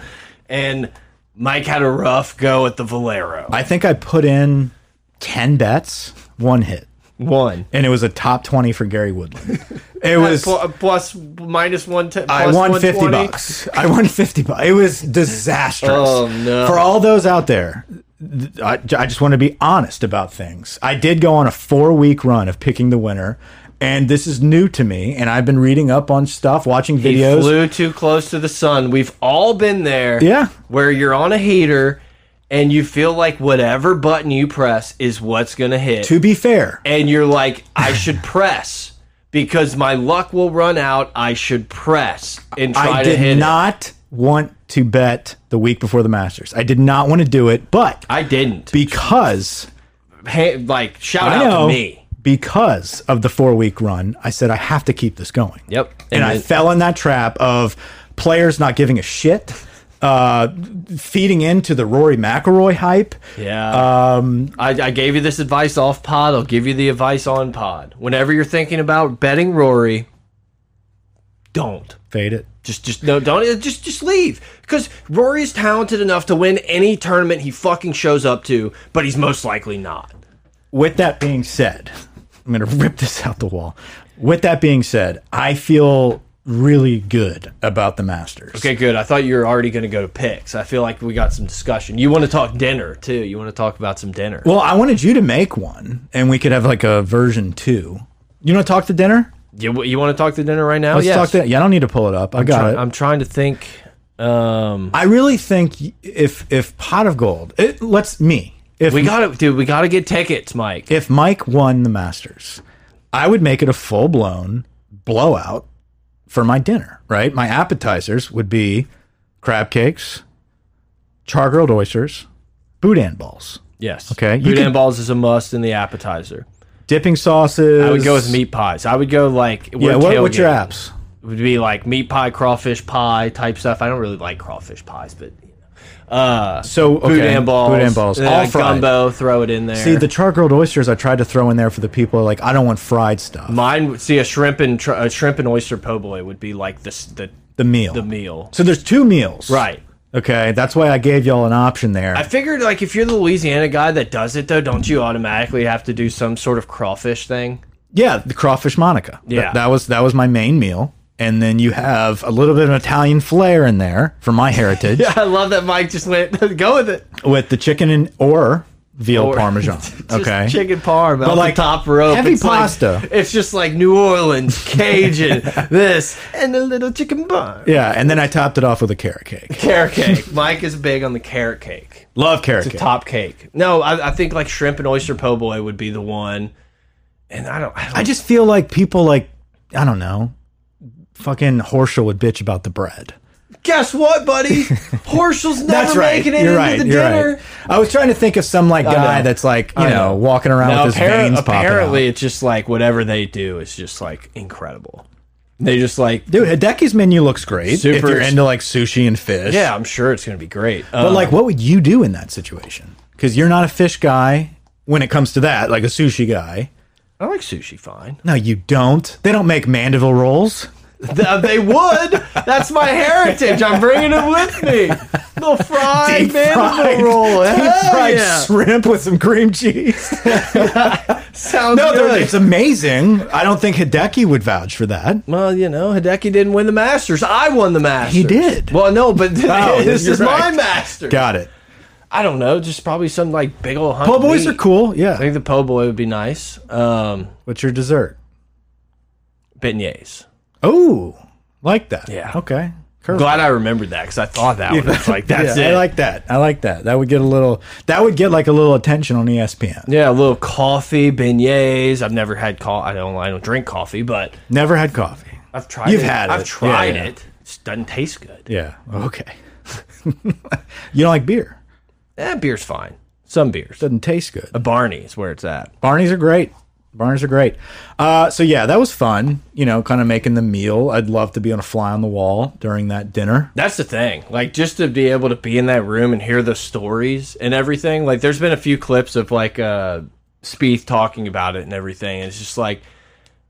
And Mike had a rough go at the Valero. I think I put in ten bets, one hit, One. and it was a top twenty for Gary Woodland. It was. Pl- plus minus one ten. I won fifty bucks. I won fifty bucks. It was disastrous. Oh, no. For all those out there, th- I, I just want to be honest about things. I did go on a four-week run of picking the winner, and this is new to me. And I've been reading up on stuff, watching He videos. flew too close to the sun. We've all been there. Yeah. Where you're on a heater and you feel like whatever button you press is what's gonna hit. To be fair, and you're like, I should press because my luck will run out. I should press and try I to hit did it. not want to bet the week before the Masters. I did not want to do it, but I didn't. because Hey, like shout I out know to me. because of the four week run, I said I have to keep this going. Yep. and, And I it- fell in that trap of players not giving a shit. Uh, feeding into the Rory McIlroy hype. Yeah. Um, I, I gave you this advice off pod. I'll give you the advice on pod. Whenever you're thinking about betting Rory, don't. Fade it. Just, just no, don't. uh, Just, just leave. Because Rory is talented enough to win any tournament he fucking shows up to, but he's most likely not. With that being said, I'm going to rip this out the wall. With that being said, I feel really good about the Masters. Okay, good. I thought you were already going to go to picks. I feel like we got some discussion. You want to talk dinner too? You want to talk about some dinner? Well, I wanted you to make one, and we could have like a version two. You want to talk to dinner? You, you want to talk the dinner right now? Let's Oh, Yes. talk to. Yeah, I don't need to pull it up. I got it. I'm trying to think. Um, I really think if if pot of gold, it let's me if we got to, dude. We got to get tickets, Mike. if Mike won the Masters, I would make it a full blown blowout for my dinner, right? My appetizers would be crab cakes, char grilled oysters, boudin balls, Yes. Okay, you Boudin can- balls is a must in the appetizer. dipping sauces. I would go with meat pies. I would go like Yeah, we're what, what's your tailgating. apps? It would be like meat pie, crawfish pie type stuff. I don't really like crawfish pies, but you know. uh, So, okay, boudin balls, boudin balls, and then all a fried. gumbo. Throw it in there. See, the char grilled oysters I tried to throw in there for the people like, I don't want fried stuff. mine. would- See a shrimp and tr a shrimp and oyster po' boy would be like this the the meal. the meal. So there's two meals. Right. Okay. That's why I gave y'all an option there. I figured like if you're the Louisiana guy that does it though, don't you automatically have to do some sort of crawfish thing? yeah, the crawfish Monica. Th- Yeah. that was that was my main meal. And then you have a little bit of Italian flair in there for my heritage I love that Mike just went go with it. with the chicken and or veal Or- parmesan. Just Okay. chicken parm, but like, like top rope, heavy It's like- pasta. it's just like New Orleans Cajun, this and a little chicken parm. Yeah, and then I topped it off with a carrot cake. Carrot cake. Mike is big on the carrot cake. Love carrot cake. Top cake. No, I, I think like shrimp and oyster po' boy would be the one. And I don't. I don't I just feel like people like I don't know, fucking Horschel would bitch about the bread. guess what, buddy? Horschel's never making it You're into right. the you're dinner. right. I was trying to think of some like guy know. that's like you I know, know. walking around Now, with his appar- veins popping. apparently, out. it's just like whatever they do is just like incredible. They just like, dude, Hideki's menu looks great. if Super- you're into like sushi and fish, yeah, I'm sure it's going to be great. Uh, But like, what would you do in that situation? Because you're not a fish guy when it comes to that, like a sushi guy. I like sushi fine. No, you don't. They don't make mandeville rolls. Th- uh, they would. That's my heritage. I'm bringing it with me. The fried Fried- mandible roll. deep Hell fried yeah. shrimp with some cream cheese. Sounds No, they're- good. it's amazing. I don't think Hideki would vouch for that. well, you know, Hideki didn't win the Masters. I won the Masters. He did. Well, no, but this you're is right. my Masters. Got it. I don't know. Just probably some like big old. hunk Po' of boys meat. are cool. I Yeah. think the po' boy would be nice. Um, What's your dessert? beignets. Oh, like that. Yeah. Okay. Curve. Glad I remembered that because I thought that one. It's like that's yeah, it. I like that. I like that. That would get a little. That would get like a little attention on E ESPN. yeah, a little coffee beignets. I've never had coffee. I don't. I don't drink coffee, but Never had coffee. I've tried. You've it. had it. I've tried Yeah, yeah. it. It doesn't taste good. Yeah. Okay. you don't like beer? Eh, beer's fine. Some beers. Doesn't taste good. A Barney is where it's at. Barney's are great. Barney's are great. Uh, so yeah, that was fun. You know, kind of making the meal. I'd love to be on a fly on the wall during that dinner. That's the thing. Like just to be able to be in that room and hear the stories and everything. Like there's been a few clips of like uh Spieth talking about it and everything. And it's just like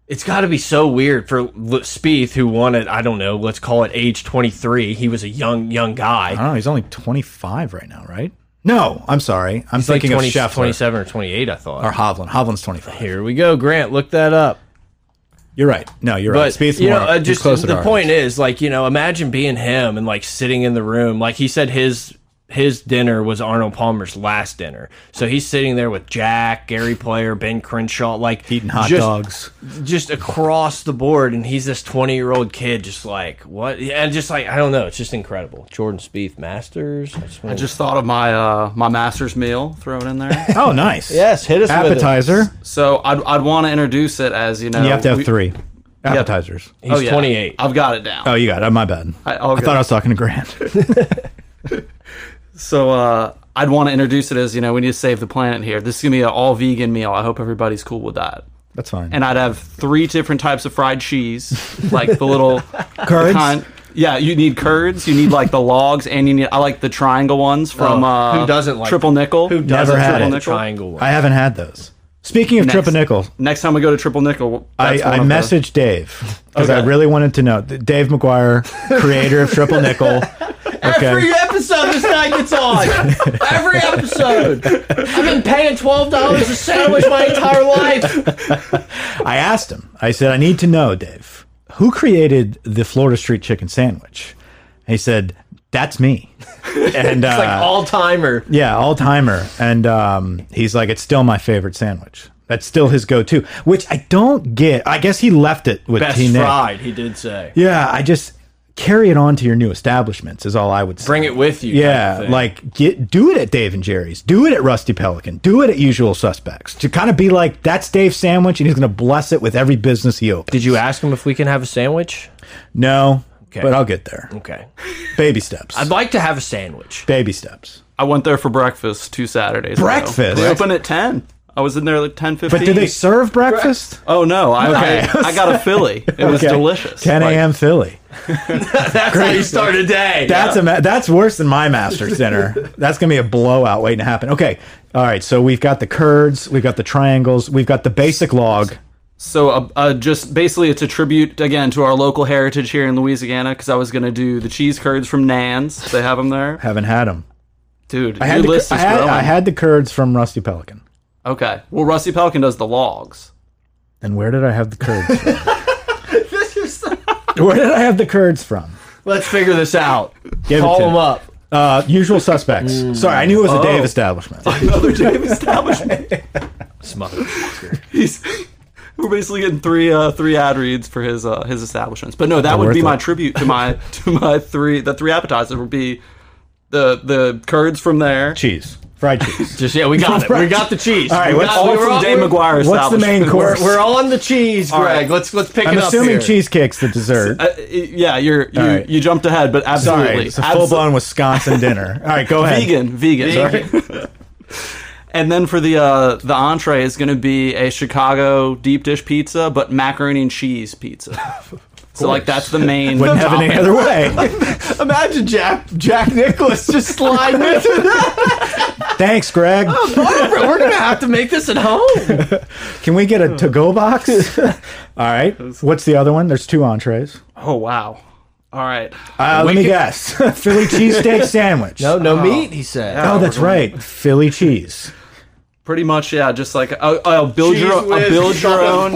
it's got to be so weird for L- Spieth who won it, I don't know, let's call it age 23. He was a young young I guy. don't know. He's only 25 right now, right? No, I'm sorry. I'm Like thinking 20 of Scheffler 27 or 28, I thought. or Hovland. Hovland's 25. Here we go, Grant. Look that up. You're right. No, you're right. But Speed's you know, more. uh, he's just closer to the ours. point is, like you know, imagine being him and like sitting in the room. Like he said, his his dinner was Arnold Palmer's last dinner, so he's sitting there with Jack, Gary Player, Ben Crenshaw, like eating hot just, dogs. just across the board. And he's this twenty year old kid, just like what, Yeah, and just like I don't know, it's just incredible. Jordan Spieth, Masters. I just, I wanna- just thought of my uh, my master's meal thrown in there. Oh, nice. yes, hit us Appetizer. so I'd, I'd want to introduce it as you know. You have to have we- oh, three appetizers. With it. He's twenty eight. I've got it down. Oh, you got it. My bad. I, I- all good. thought I was talking to Grant. So uh, I'd want to introduce it as you know we need to save the planet here. This is gonna be an all vegan meal. I hope everybody's cool with that. That's fine. And I'd have three different types of fried cheese, like the little Curds? kind- yeah, you need curds. You need like the logs, and you need I like the triangle ones from Oh, uh, who doesn't like triple nickel. Who doesn't had triple it. nickel? triangle one? I haven't had those. Speaking of Next. triple nickel, Next time we go to triple nickel, I, that's I one of the- messaged Dave because I Okay. really wanted to know. D- Dave McGuire, creator of triple nickel. Okay. Every episode this guy gets on. Every episode. I've been paying twelve dollars a sandwich my entire life. I asked him. I said, I need to know, Dave, who created the Florida Street Chicken Sandwich? And he said, That's me. And uh, Like all timer. Yeah, all timer. And um, he's like, it's still my favorite sandwich. That's still his go to, which I don't get. I guess he left it with Best T Nick. fried, he did say. Yeah, I just carry it on to your new establishments is all I would say. Bring it with you. kind Yeah, of thing. like get do it at Dave and Jerry's, do it at Rusty Pelican, do it at Usual Suspects to kind of be like that's Dave's sandwich, and he's going to bless it with every business he opens. Did you ask him if we can have a sandwich? No, Okay. but I'll get there. Okay. Baby steps. I'd like to have a sandwich. Baby steps. I went there for breakfast two Saturdays. ago. Breakfast? They opened at ten. I was in there at ten fifteen. But do they serve breakfast? Oh no! I, Okay. I, I got a Philly. It was Okay. delicious. 10 Like, a.m. Philly. That's how you start a day. That's a ma- that's worse than my master's dinner. That's gonna be a blowout waiting to happen. Okay, all right. So we've got the curds, we've got the triangles, we've got the basic log. So, uh, uh, just basically, it's a tribute again to our local heritage here in Louisiana. Because I was gonna do the cheese curds from Nan's. They have them there, Haven't had them. dude. I had, your the, list I is had, growing. I had the curds from Rusty Pelican. okay. Well, Rusty Pelican does the logs. And where did I have the curds? From? where did I have the curds from? Let's figure this out. Give it Call to them me. up. Mm. Oh. Uh, usual suspects. Sorry, I knew it was a Dave establishment. Another Dave establishment. Smother. He's, we're basically getting three uh, three ad reads for his uh, his establishments. But no, that would worth be my it. tribute to my to my three the three appetizers would be the the curds from there. Cheese, fried cheese. Just yeah, we got it. We got the cheese. All right, We what's- got- All we were from on- Dave we're- McGuire's What's the main course? We're on the cheese, Greg. right. Let's let's pick I'm it up. assuming here. cheesecake's the dessert. Uh, yeah, you're you, right. you jumped ahead, but absolutely, Sorry, it's a Abso- full blown Wisconsin dinner. All right, go ahead. vegan, vegan. And then for the uh, the entree is going to be a Chicago deep dish pizza, but macaroni and cheese pizza. so like that's the main. Wouldn't have it any other topping. way. Imagine Jack Jack Nicholas just sliding into that. Thanks, Greg. We're gonna have to make this at home. Can we get a to go box? All right. What's the other one? There's two entrees. oh wow! All right. Uh, let me guess. Philly cheesesteak sandwich. No, no meat. He said. Oh, that's right. Philly cheese. Pretty much, yeah. Just like I'll, I'll build your own, I'll build your own.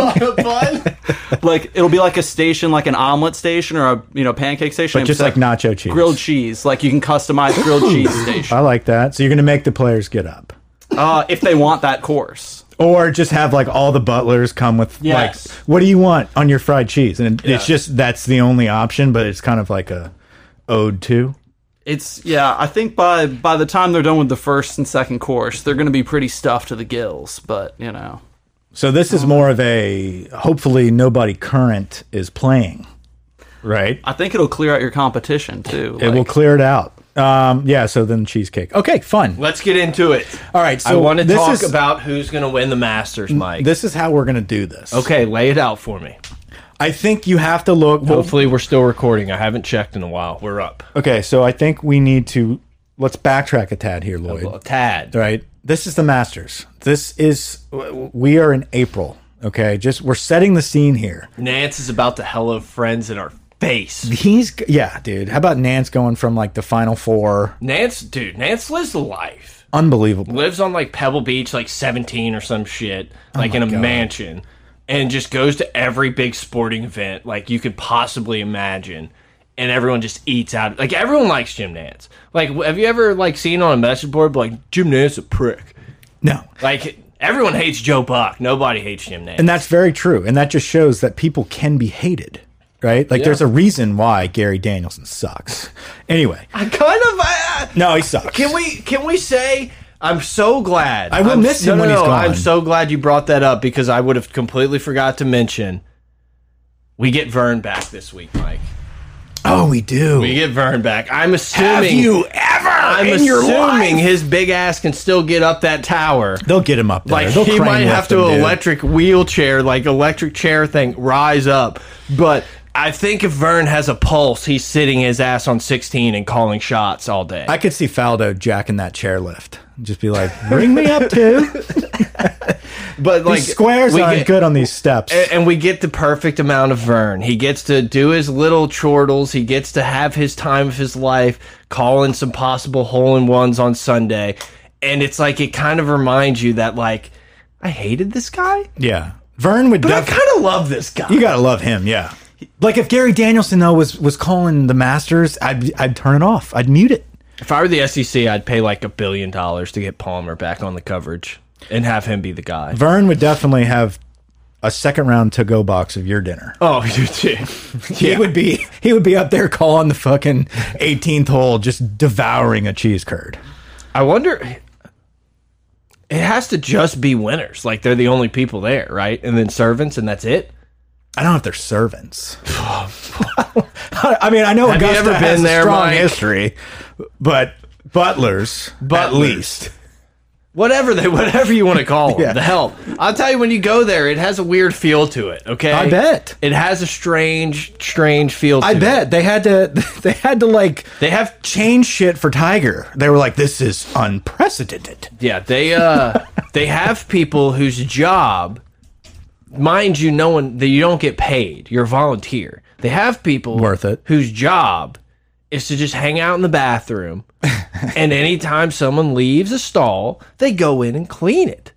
Like it'll be like a station, like an omelet station or a you know pancake station. But just like nacho cheese. grilled cheese. Like you can customize grilled cheese station I like that. So you're going to make the players get up. uh, if they want that course. Or just have like all the butlers come with Yes. like, what do you want on your fried cheese? And it- it's Yeah. just that's the only option, but it's kind of like a ode to. It's yeah. I think by by the time they're done with the first and second course, they're going to be pretty stuffed to the gills. But you know, So this is more of a hopefully nobody current is playing, right? I think it'll clear out your competition too. It will clear it out. Um, yeah. So then cheesecake. Okay, fun. Let's get into it. All right. So I want to this talk is, about who's gonna win the Masters, Mike. this is how we're gonna do this. okay, lay it out for me. I think you have to look. Well, Hopefully, we're still recording. I haven't checked in a while. We're up. okay. So I think we need to let's backtrack a tad here, Lloyd. A tad. Right. This is the Masters. This is we are in April. Okay. Just we're setting the scene here. Nance is about to hello friends in our face. He's yeah, dude. How about Nance going from like the final four? Nance, dude, Nance lives the life. Unbelievable. lives on like Pebble Beach, like 17 or some shit, Oh like in a mansion, and just goes to every big sporting event like you could possibly imagine. And everyone just eats out. Like everyone likes Jim Nance. Like, w- have you ever like seen on a message board like Jim Nance a prick? No. Like everyone hates Joe Buck. Nobody hates Jim Nance. And that's very true. And that just shows that people can be hated, right? Like there's a reason why Gary Danielson sucks. Anyway, I kind of. I, I- no, he sucks. can we can we say? I'm so glad. I will I'm- miss him no, when no, he's no, I'm gone. so glad you brought that up because I would have completely forgot to mention. We get Vern back this week, Mike. Oh, we do. We get Vern back. I'm assuming. Have you ever I'm in assuming your life? his big ass can still get up that tower. They'll get him up there. Like They'll he crane might have lift to him, dude. electric wheelchair, like electric chair thing, rise up. But I think if Vern has a pulse, he's sitting his ass on 16 and calling shots all day. I could see Faldo jacking that chairlift. Just be like, bring me up too. but like These squares we aren't get- Eh, good on these steps. A- and we get the perfect amount of Vern. He gets to do his little chortles. He gets to have his time of his life, calling some possible hole in ones on Sunday. And it's like it kind of reminds you that like I hated this guy, yeah, Vern would. but I Def- kind of love this guy. you gotta love him. Yeah. Like if Gary Danielson though was was calling the Masters, I'd I'd turn it off. I'd mute it. if I were the SEC, I'd pay like a billion dollars to get Palmer back on the coverage and have him be the guy. Vern would definitely have a second round to go box of your dinner. Oh, you did. He would be he would be up there calling the fucking 18th hole, just devouring a cheese curd. I wonder. It has to just be winners. Like they're the only people there, right? And then servants, and that's it. I don't know if they're servants. I mean, I know Have you Augusta ever has been a there, strong Mike? history, but butlers, at least. Whatever they, whatever you want to call them, Yeah. the help. I'll tell you, when you go there, it has a weird feel to it. Okay, I bet. it has a strange, strange feel. To I it. bet they had to they had to like they have. change shit for Tiger. They were like, this is unprecedented. Yeah, they uh, they have people whose job, mind you, no one that you don't get paid. You're a volunteer. They have people Worth it. whose job is to just hang out in the bathroom, and anytime someone leaves a stall, they go in and clean it,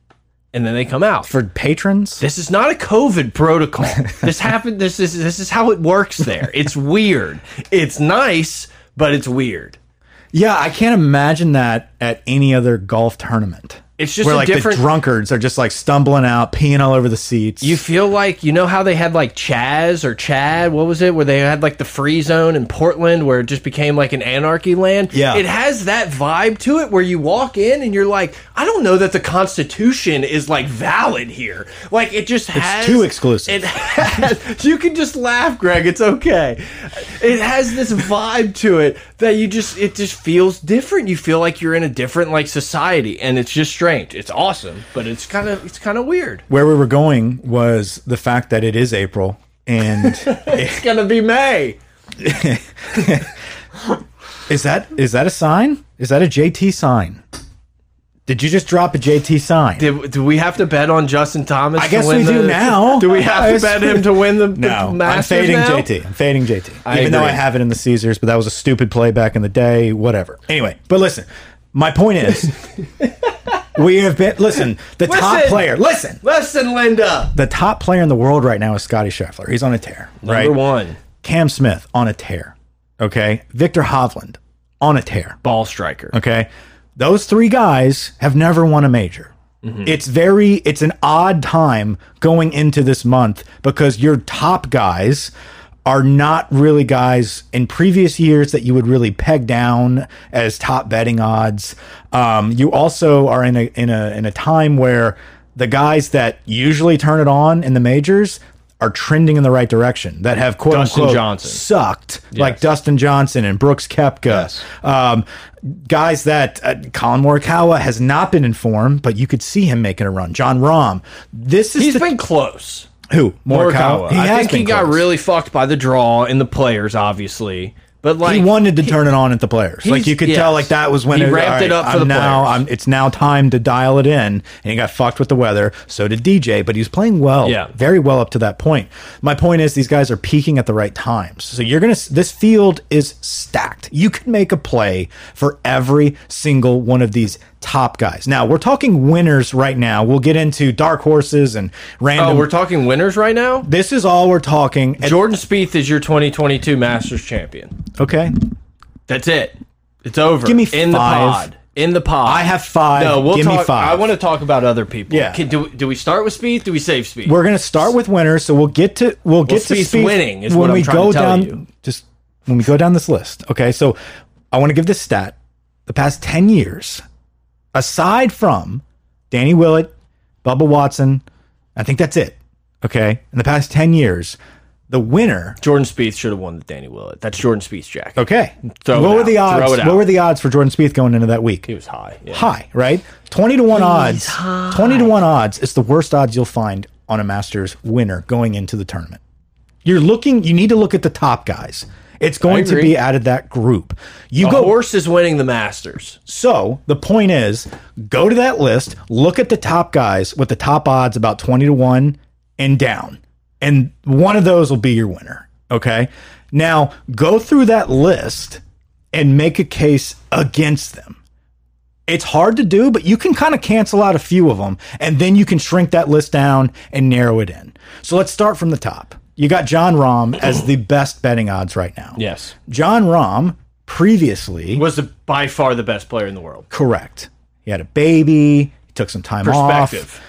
and then they come out. For patrons? This is not a COVID protocol. This happened. This is this is how it works there. It's weird. It's nice, but it's weird. Yeah, I can't imagine that at any other golf tournament. It's just where a like different- the drunkards are just like stumbling out, peeing all over the seats. You feel like you know how they had like Chaz or Chad. What was it? Where they had like the free zone in Portland, where it just became like an anarchy land. Yeah. it has that vibe to it where you walk in and you're like, I don't know that the Constitution is like valid here. Like it just has too It exclusive. has, you can just laugh, Greg. It's okay. It has this vibe to it that you just it just feels different. You feel like you're in a different like society, and it's just strange. It's awesome, but it's kind of it's kind of weird. where we were going was the fact that it is April and It's gonna be May. is that is that a sign? Is that a JT sign? Did you just drop a JT sign? Did, do we have to bet on Justin Thomas? I guess to win we do the- now. Do we have to Yes. bet him to win the, the no, I'm Masters fading now? JT. I'm fading JT. Even though agree. I have it in the Caesars, but that was a stupid play back in the day. Whatever. Anyway, but listen, my point is, we have been listen. The top Listen. player. Listen, Listen, Linda. the top player in the world right now is Scotty Scheffler. He's on a tear. Right. Number one, Cam Smith on a tear. Okay. Victor Hovland on a tear. ball striker. Okay. Those three guys have never won a major. Mm-hmm. It's very, it's an odd time going into this month because your top guys are not really guys in previous years that you would really peg down as top betting odds. Um, you also are in a in a in a time where the guys that usually turn it on in the majors are trending in the right direction that have quote Dustin unquote Johnson. sucked like Dustin Johnson and Brooks Kepka. Um, guys that uh, Colin Morikawa has not been in form, but you could see him making a run. John Rahm. This is He's the, been close. who Morikawa. Morikawa. He I has think been he got close. really fucked by the draw and the players, obviously. But like He wanted to turn it on at the players. Like He's- you could yes. tell, like that was when He it, ramped all it up for I'm the now, players. I'm, it's now time to dial it in, and he got fucked with the weather. So did DJ, but he was playing well, Yeah. very well up to that point. My point is, these guys are peaking at the right times. So you're gonna. s- This field is stacked. You can make a play for every single one of these top guys. Now we're talking winners right now. We'll get into dark horses and oh, random. we're talking winners right now. this is all we're talking. And- Jordan Spieth is your 2022 Masters champion. okay, That's it. It's over. Give me in the five. pod. In the pod. I have five. No, we'll Give me talk. five. I want to talk about other people. Yeah. Can, do, do we start with Speed? Do we save Speed? We're gonna start with winners, so we'll get to we'll get to Spieth's Spieth winning is what I'm trying to tell down you. just when we go down this list. Okay, so I want to give this stat: the past ten years, aside from Danny Willett, Bubba Watson, I think that's it. Okay, in the past ten years, the winner. Jordan Spieth should have won the Danny Willett. That's Jordan Spieth's jacket. Okay, Throw it what were out. the Throw odds? it out. What were the odds for Jordan Spieth going into that week? He was high. Yeah. high, right? 20 to 1 odds. 20 to 1 odds. It's the worst odds you'll find on a Masters winner going into the tournament. You're looking, you need to look at the top guys. It's going to agree. be out of that group. You The go. horse is winning the Masters. So the point is go to that list, look at the top guys with the top odds about 20 to 1 and down. And one of those will be your winner. Okay. Now go through that list and make a case against them. It's hard to do, but you can kind of cancel out a few of them and then you can shrink that list down and narrow it in. So let's start from the top. You got John Rahm as the best betting odds right now. Yes. John Rahm previously Was the, by far the best player in the world. Correct. He had a baby. He took some time off. Perspective.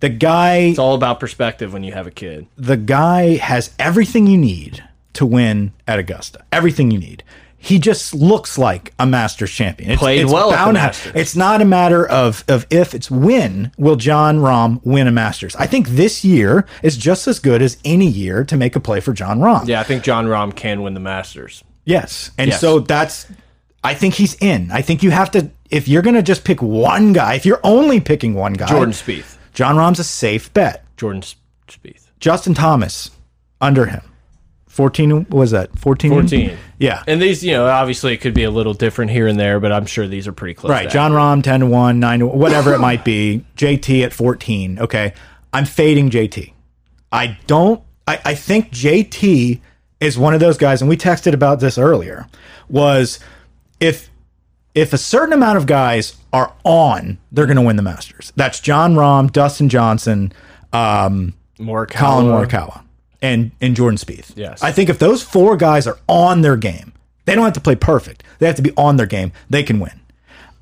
The guy It's all about perspective when you have a kid. the guy has everything you need to win at Augusta. Everything you need. He just looks like a Masters champion. It's, Played it's well at the bound to- Masters. It's not a matter of of if, it's when will John Rahm win a Masters. I think this year is just as good as any year to make a play for John Rahm. Yeah, I think John Rahm can win the Masters. Yes. And Yes. so that's I think he's in. I think you have to if you're going to just pick one guy, if you're only picking one guy, Jordan Spieth. John Rahm's a safe bet. Jordan S- Spieth. Justin Thomas under him. 14 was that? 14. 14. Yeah. And these, you know, obviously it could be a little different here and there, but I'm sure these are pretty close. right. to John Rahm 10 to 1, 9 to whatever it might be. JT at 14. Okay. I'm fading JT. I don't I, I think JT is one of those guys and we texted about this earlier was if if a certain amount of guys are on, they're going to win the Masters. That's John Rahm, Dustin Johnson, um, that. Morikawa. Colin Morikawa and and Jordan Spieth. Yes. I think if those four guys are on their game, they don't have to play perfect. They have to be on their game. They can win.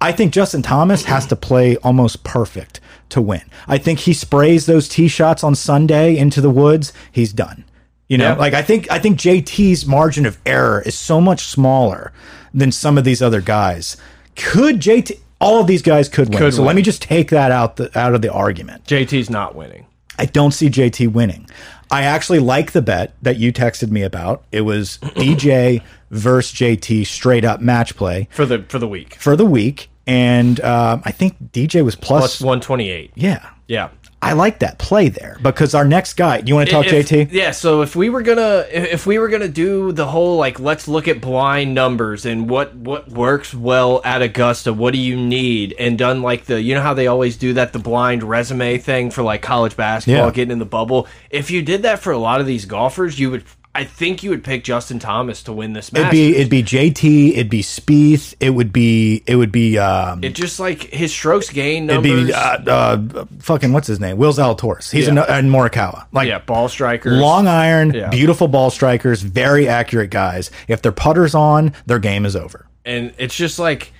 I think Justin Thomas has to play almost perfect to win. I think he sprays those tee shots on Sunday into the woods. He's done. You know, Yeah. like I think I think JT's margin of error is so much smaller than some of these other guys. Could JT? All of these guys could win. Could so let win. me just take that out the, out of the argument. JT's not winning. I don't see JT winning. I actually like the bet that you texted me about. It was DJ versus JT straight up match play For the for the week. for the week, and um, I think DJ was plus. Plus 128. yeah, Yeah. I like that play there because our next guy. You want to talk If- JT? Yeah, so if we were gonna if if we were gonna do the whole like let's look at blind numbers and what what works well at Augusta, what do you need, and done like the you know how they always do that the blind resume thing for like college basketball Yeah. getting in the bubble. If you did that for a lot of these golfers, you would I think you would pick Justin Thomas to win this It'd match. be it'd be JT. It'd be Spieth. It would be it would be um, it just like his strokes gain it'd numbers. be uh, uh, fucking what's his name? Will Zalatoris. He's Yeah. ano- and Morikawa. Like yeah, ball strikers. Long iron, Yeah. beautiful ball strikers, very accurate guys. If their putter's on, their game is over. and it's just like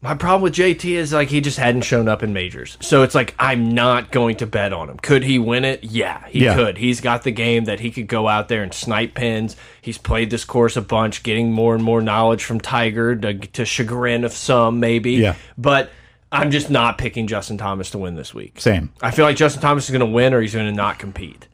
my problem with JT is like he just hadn't shown up in majors. So it's like I'm not going to bet on him. Could he win it? Yeah, he Yeah. could. He's got the game that he could go out there and snipe pins. He's played this course a bunch, getting more and more knowledge from Tiger to, to chagrin of some maybe. Yeah. But I'm just not picking Justin Thomas to win this week. Same. I feel like Justin Thomas is going to win or he's going to not compete.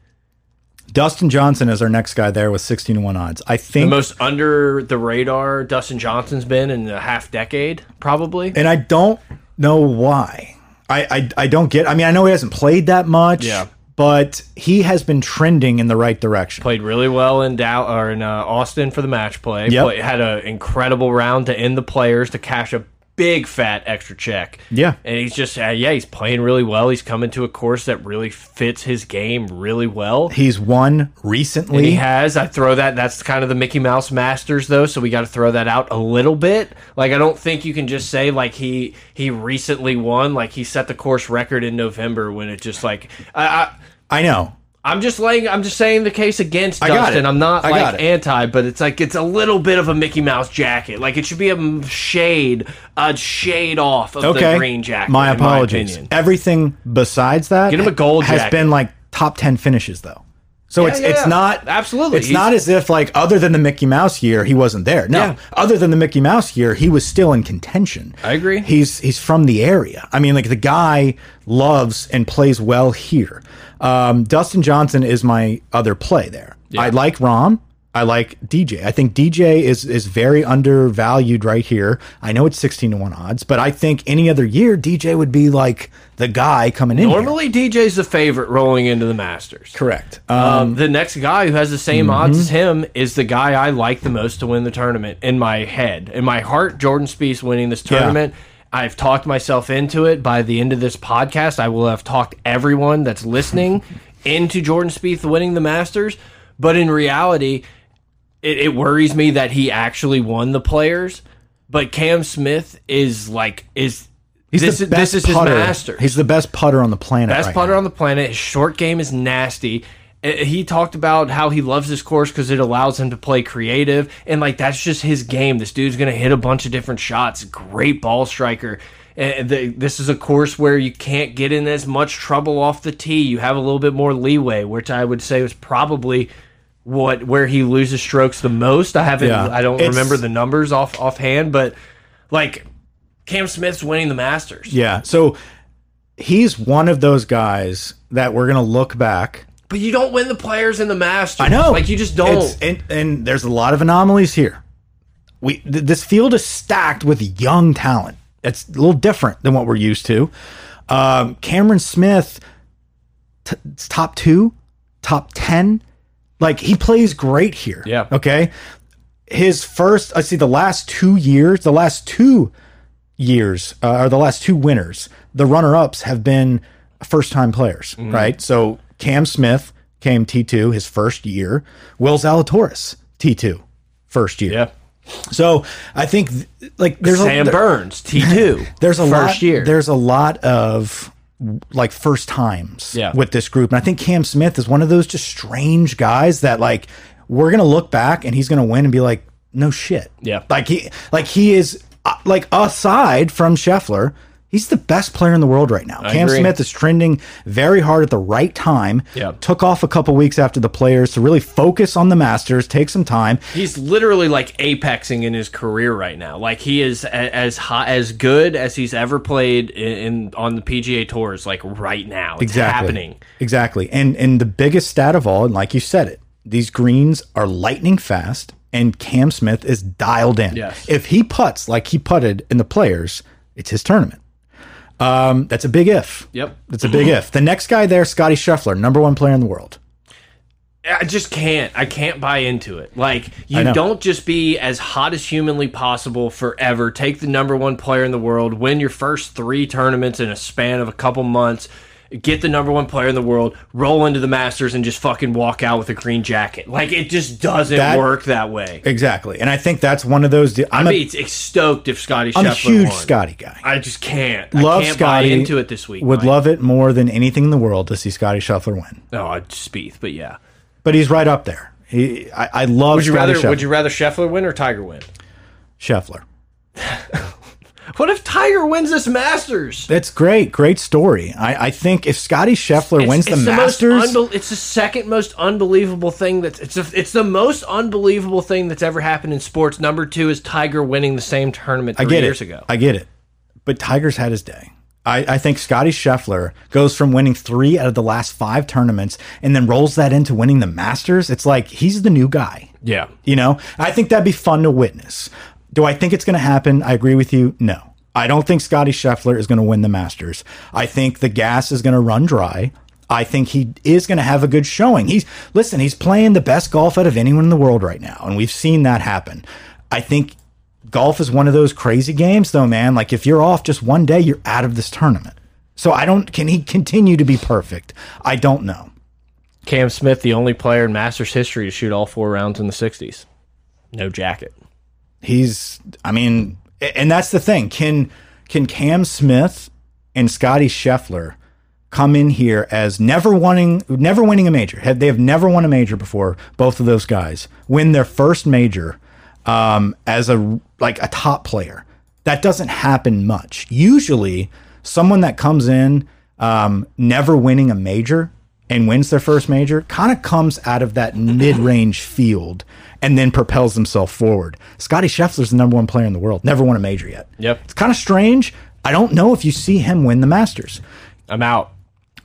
Dustin Johnson is our next guy there with 16 to 1 odds. I The think most under the radar Dustin Johnson's been in a half decade, probably. and I don't know why. I, I I don't get I mean, I know he hasn't played that much, Yeah. but he has been trending in the right direction. played really well in Dow or in uh, Austin for the match play. Yep. Play- had an incredible round to end the players to cash a big fat extra check. Yeah. and he's just uh, yeah, he's playing really well. He's coming to a course that really fits his game really well. He's won recently. He has. I throw that. That's kind of the Mickey Mouse Masters, though. So we got to throw that out a little bit. Like I don't think you can just say like he he recently won. Like he set the course record in November when it just like I, I I know. I'm just laying. I'm just saying the case against got Dustin. it. I'm not I like got it. anti, but it's like it's a little bit of a Mickey Mouse jacket. Like it should be a m- shade, a shade off of Okay. the green jacket. my in apologies. opinion. Everything besides that Get him a gold has jacket. been like top 10 finishes though. So it's yeah, it's yeah. not Absolutely. It's He's- not as if like other than the Mickey Mouse year he wasn't there. No, Yeah. other than the Mickey Mouse year he was still in contention. I agree. He's he's from the area. I mean like the guy loves and plays well here. Um, Dustin Johnson is my other play there. I like Rom. I like DJ. I think DJ is is very undervalued right here. I know it's sixteen to one odds, but I think any other year DJ would be like the guy coming in. here. Normally, DJ's the favorite rolling into the Masters. correct. Um, the next guy who has the same Mm-hmm. odds as him is the guy I like the most to win the tournament in my head. In my heart, Jordan Spieth winning this tournament. I've talked myself into it. By the end of this podcast, I will have talked everyone that's listening into Jordan Spieth winning the Masters. But in reality, it, it worries me that he actually won the Players. But Cam Smith is like is He's this the is best this is his putter. master He's the best putter on the planet. best right putter now. on the planet. His short game is nasty. Uh, He talked about how he loves this course because it allows him to play creative, and like that's just his game. This dude's gonna hit a bunch of different shots. Great ball striker. And the, this is a course where you can't get in as much trouble off the tee. You have a little bit more leeway, which I would say was probably what where he loses strokes the most. I haven't, Yeah. I don't It's- remember the numbers off offhand, but like Cam Smith's winning the Masters, Yeah. So he's one of those guys that we're gonna look back. but you don't win the Players in the Masters. I know. like you just don't. It's- and, and there's a lot of anomalies here. We th this field is stacked with young talent. That's a little different than what we're used to. Um, Cameron Smith, t- it's top two, top ten. Like he plays great here. Yeah. Okay. His first, I see the last two years, the last two years uh, or the last two winners, the runner ups have been first time players, Mm-hmm. right? So Cam Smith came T2 his first year, Will Zalatoris T2 first year. yeah, So I think th- like there's Sam a there- Burns T two. there's a first lot year. there's a lot of like first times Yeah. with this group. And I think Cam Smith is one of those just strange guys that like we're going to look back and he's going to win and be like no shit. Yeah. Like he like he is uh, like aside from Scheffler, he's the best player in the world right now. Cam agree. Smith is trending very hard at the right time. Yeah. Took off a couple weeks after the players to really focus on the Masters, take some time. He's literally like apexing in his career right now. Like he is a- as hot, as good as he's ever played in, in on the PGA tours. Like right now, it's happening. Exactly. And and the biggest stat of all, and like you said it, these greens are lightning fast and Cam Smith is dialed in. Yes. If he puts like he putted in the players, it's his tournament. Um, that's a big if. Yep. That's a big if. The next guy there, Scotty Scheffler, number one player in the world. I just can't. I can't buy into it. Like I you know. don't just be as hot as humanly possible forever. Take the number one player in the world, win your first three tournaments in a span of a couple months, get the number one player in the world, roll into the Masters, and just fucking walk out with a green jacket. Like it just doesn't That- work that way. Exactly. And I think that's one of those. I'm I a mean, it's, it's stoked if Scotty. am a Scheffler huge won. Scotty guy. I just can't. Love I can't Scotty. buy into it this week. Would Mike. love it more than anything in the world to see Scotty Scheffler win. No, oh, Spieth, but yeah. But he's right up there. He, I, I love Would you rather? Scotty Scheffler. Would you rather Scheffler win or Tiger win? Scheffler. What if Tiger wins this Masters? That's great. Great story. I, I think if Scotty Scheffler wins the, Masters, Most unbe- it's the second most unbelievable thing that's it's a, it's the most unbelievable thing that's ever happened in sports. Number two is Tiger winning the same tournament I three get years it. ago. I get it. But Tiger's had his day. I, I think Scotty Scheffler goes from winning three out of the last five tournaments and then rolls that into winning the Masters. It's like he's the new guy. Yeah, You know, I think that'd be fun to witness. Do I think it's going to happen? I agree with you. No, I don't think Scotty Scheffler is going to win the Masters. I think the gas is going to run dry. I think he is going to have a good showing. He's listen, he's playing the best golf out of anyone in the world right now, and we've seen that happen. I think golf is one of those crazy games, though, man. Like if you're off just one day, you're out of this tournament. So I don't. Can he continue to be perfect? I don't know. Cam Smith, the only player in Masters history to shoot all four rounds in the '60s, no jacket. he's i mean a- and that's the thing can can cam smith and scotty scheffler come in here as never wanting never winning a major have they have never won a major before both of those guys win their first major um, as a like a top player that doesn't happen much usually someone that comes in um, never winning a major and wins their first major kind of comes out of that mid-range field and then propels himself forward. Scotty Scheffler's the number one player in the world, never won a major yet. Yep. It's kind of strange. I don't know if you see him win the Masters. I'm out.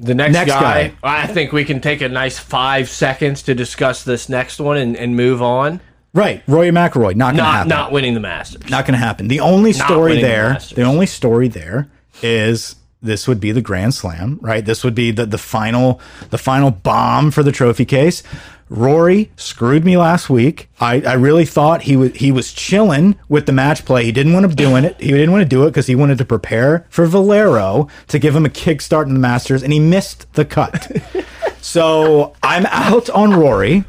The next, Next guy, guy. I think we can take a nice five seconds to discuss this next one and, and move on. Right, Roy McIlroy, not gonna Not happen. not winning the Masters. Not gonna happen. The only story winning the there, Masters. the only story there is this would be the Grand Slam, right? This would be the the final the final bomb for the trophy case. Rory screwed me last week. I, I really thought he was he was chilling with the match play. He didn't want to doing it. He didn't want to do it because he wanted to prepare for Valero to give him a kickstart in the Masters, and he missed the cut. so I'm out on Rory.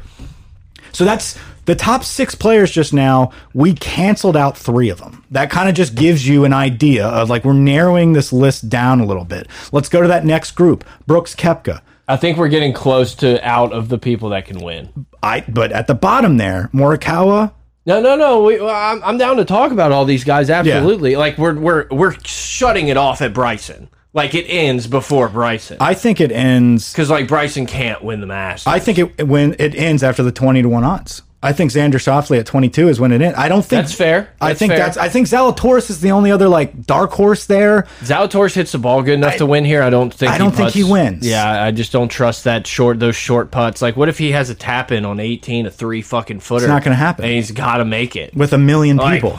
So that's the top six players just now. We canceled out three of them. That kind of just gives you an idea of like we're narrowing this list down a little bit. Let's go to that next group. Brooks Kepka. I think we're getting close to out of the people that can win. I but at the bottom there, Morikawa, No, no, no. We, well, I'm, I'm down to talk about all these guys. Absolutely. Like we're we're we're shutting it off at Bryson. Like it ends before Bryson I think it ends. because like Bryson can't win the Masters. I think it when it ends after the twenty to one odds. I think Xander Shoffley at twenty two is when it ends. I don't think That's fair. I That's think fair. that's. I think Zalatoris is the only other like dark horse there. Zalatoris hits the ball good enough to win here. I don't think. I don't he think he putts. wins. Yeah, I just don't trust that short. Those short putts. Like, what if he has a tap in on eighteen, a three fucking footer? not gonna happen. And he's got to make it. with a million Like- people.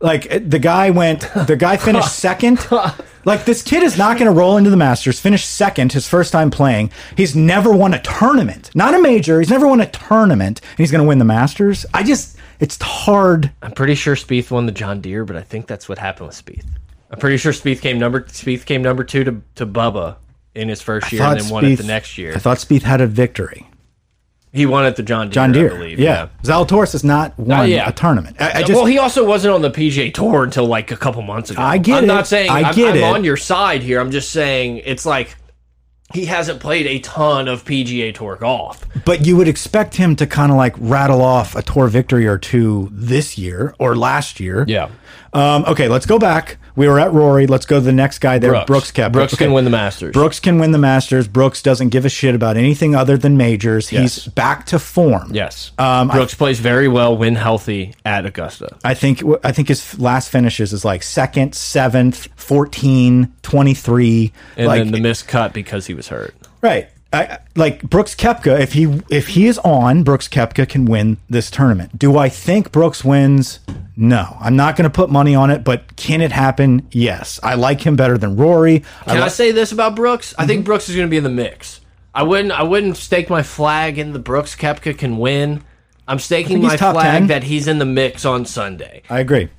Like it- the guy went, the guy finished second. Like this kid is not going to roll into the Masters. Finished second, his first time playing. He's never won a tournament, not a major. He's never won a tournament, and he's going to win the Masters. I just, it's hard. I'm pretty sure Spieth won the John Deere, but I think that's what happened with Spieth. I'm pretty sure Spieth came number Spieth came number two to to Bubba in his first year, and then won it the next year. I thought Speed had a victory. He won at the John Deere, John Deere, I believe. Uh, yeah. Zalatoris has not won yeah. a tournament. I, I just, well, he also wasn't on the PGA Tour until like a couple months ago. I get I'm it. not saying I am get I'm it. on your side here. I'm just saying it's like he hasn't played a ton of PGA Tour golf. But you would expect him to kind of like rattle off a tour victory or two this year or last year. Um, okay, let's go back. We were at Rory. Let's go to the next guy there. Brooks, Koepka. Brooks Okay. can win the Masters. Brooks can win the Masters. Brooks doesn't give a shit about anything other than majors. Yes. He's back to form. yes. Um, I- Brooks plays very well when healthy at Augusta. I think I think his last finishes is like second, seventh, 14, 23. And like then the missed cut because he was hurt. Right. I- I, like Brooks Kepka, if he if he is on, Brooks Kepka can win this tournament. Do I think Brooks wins? No, I'm not going to put money on it. But can it happen? Yes, I like him better than Rory. I Can I, li- say this about Brooks? I Mm-hmm. think Brooks is going to be in the mix. I wouldn't. I wouldn't stake my flag in the Brooks Kepka can win. I'm staking he's my top flag 10. that he's in the mix on Sunday. I agree.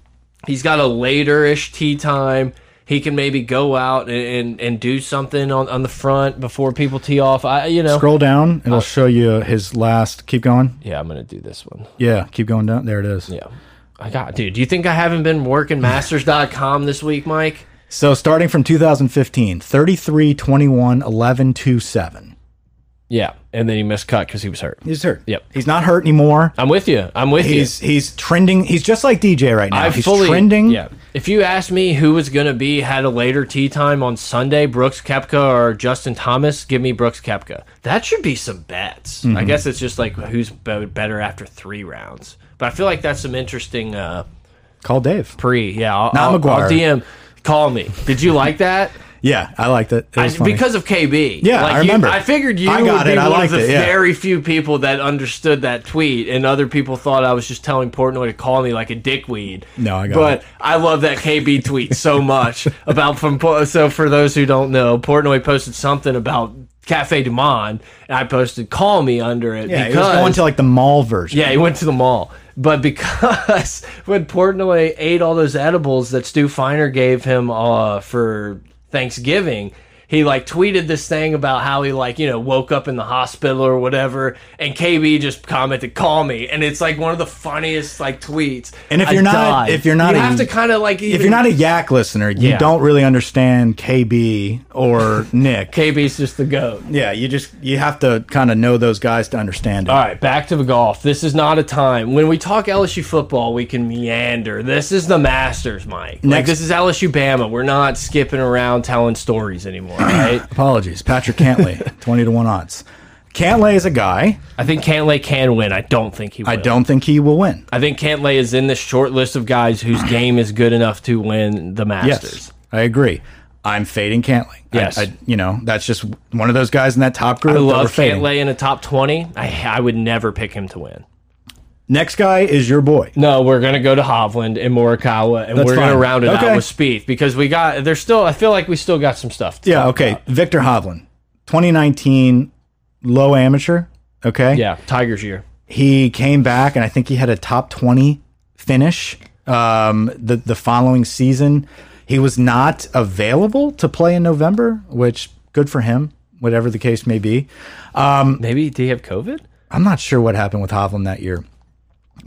He's got a later-ish tea time. He can maybe go out and, and, and do something on, on the front before people tee off. I you know. Scroll down; it'll show you his last. Keep going. Yeah, I'm gonna do this one. Yeah, keep going down. There it is. Yeah, I got dude. Do you think I haven't been working Masters.com this week, Mike? So starting from 2015, 33, 21, 11, 2, 7. Yeah, and then he missed cut because he was hurt. He's hurt. Yep. He's not hurt anymore. I'm with you. I'm with you. He's he's trending. He's just like DJ right now. I he's fully trending. Yeah. If you asked me who was going to be had a later tea time on Sunday, Brooks Kepka or Justin Thomas, give me Brooks Kepka. That should be some bets. I Mm-hmm. guess it's just like who's be- better after three rounds. But I feel like that's some interesting uh, Call Dave. pre. Yeah, I'll, Not I'll, I'll McGuire. DM. Call me. Did you like that? Yeah, I liked it. It I, was funny. because of KB. Yeah, like I you- remember. I figured you I got would be it. I one of liked the it, yeah. very few people that understood that tweet, and other people thought I was just telling Portnoy to call me like a dickweed. No, I got But it. I love that KB tweet so much about from. Po- So for those who don't know, Portnoy posted something about Cafe Du Monde, and I posted "Call me" under it yeah, because he was going to like the mall version. yeah, he went to the mall. But because when Portnoy ate all those edibles that Stu Feiner gave him uh, for Thanksgiving, he like tweeted this thing about how he like you know woke up in the hospital or whatever, and KB just commented, "Call me," and it's like one of the funniest like tweets. And if I you're not- died. if you're not you a- have to kind of like If you're not a Yak listener, you Yeah. don't really understand KB or Nick. KB's just the goat. yeah, you just you have to kind of know those guys to understand it. All right, back to the golf. This is not a time when we talk LSU football. We can meander. This is the Masters, Mike. Like Next- this is LSU Bama. We're not skipping around telling stories anymore, right? Apologies, Patrick Cantley, twenty to one odds. Cantley is a guy. I think Cantlay can win. I don't think he. Will. I don't think he will win. I think Cantlay is in the short list of guys whose game is good enough to win the Masters. Yes, I agree. I'm fading Cantley. I- Yes. I, you know that's just one of those guys in that top group. I that we're love fading. Cantlay in a top twenty. I I would never pick him to win. Next guy is your boy. No, we're gonna go to Hovland and Morikawa, and That's we're gonna fine. round it out Okay. with Spieth because we got. There's still. I feel like we still got some stuff. To Yeah, talk okay. about. Victor Hovland, 2019, low amateur. Okay. Yeah, Tiger's year. He came back and I think he had a top 20 finish um, the, the following season. He was not available to play in November, which good for him, whatever the case may be. Maybe did he have COVID? I'm not sure what happened with Hovland that year.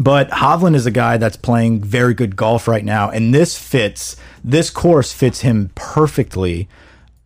But Hovland is a guy that's playing very good golf right now, and this fits. This course fits him perfectly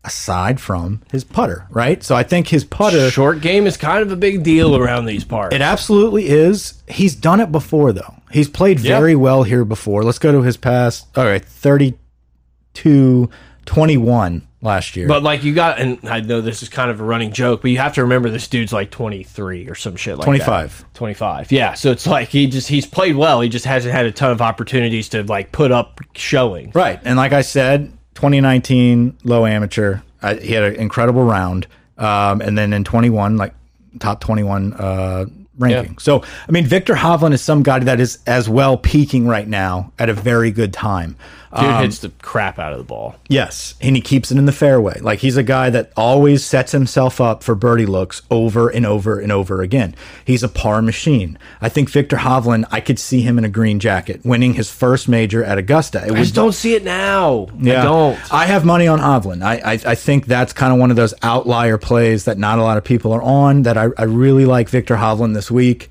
aside from his putter, right? So I think his putter Short game is kind of a big deal around these parts. It absolutely is. He's done it before, though. He's played Yeah. very well here before. Let's go to his past. All right, 32 21 last year. But like you got, and I know this is kind of a running joke, but you have to remember this dude's like 23 or some shit like 25. that. 25. Yeah. So it's like he just he's played well. He just hasn't had a ton of opportunities to like put up showing. right. And like I said, 2019, low amateur. I, he had an incredible round. Um, and then in 21, like top 21 uh, ranking. So, I mean, Victor Hovland is some guy that is as well peaking right now at a very good time. Dude Um, hits the crap out of the ball. Yes, and he keeps it in the fairway. Like he's a guy that always sets himself up for birdie looks over and over and over again. He's a par machine. I think Victor Hovland, I could see him in a green jacket winning his first major at Augusta. It I just don't see it now. I don't. I have money on Hovland. I, I, I think that's kind of one of those outlier plays that not a lot of people are on. That I, I really like Victor Hovland this week.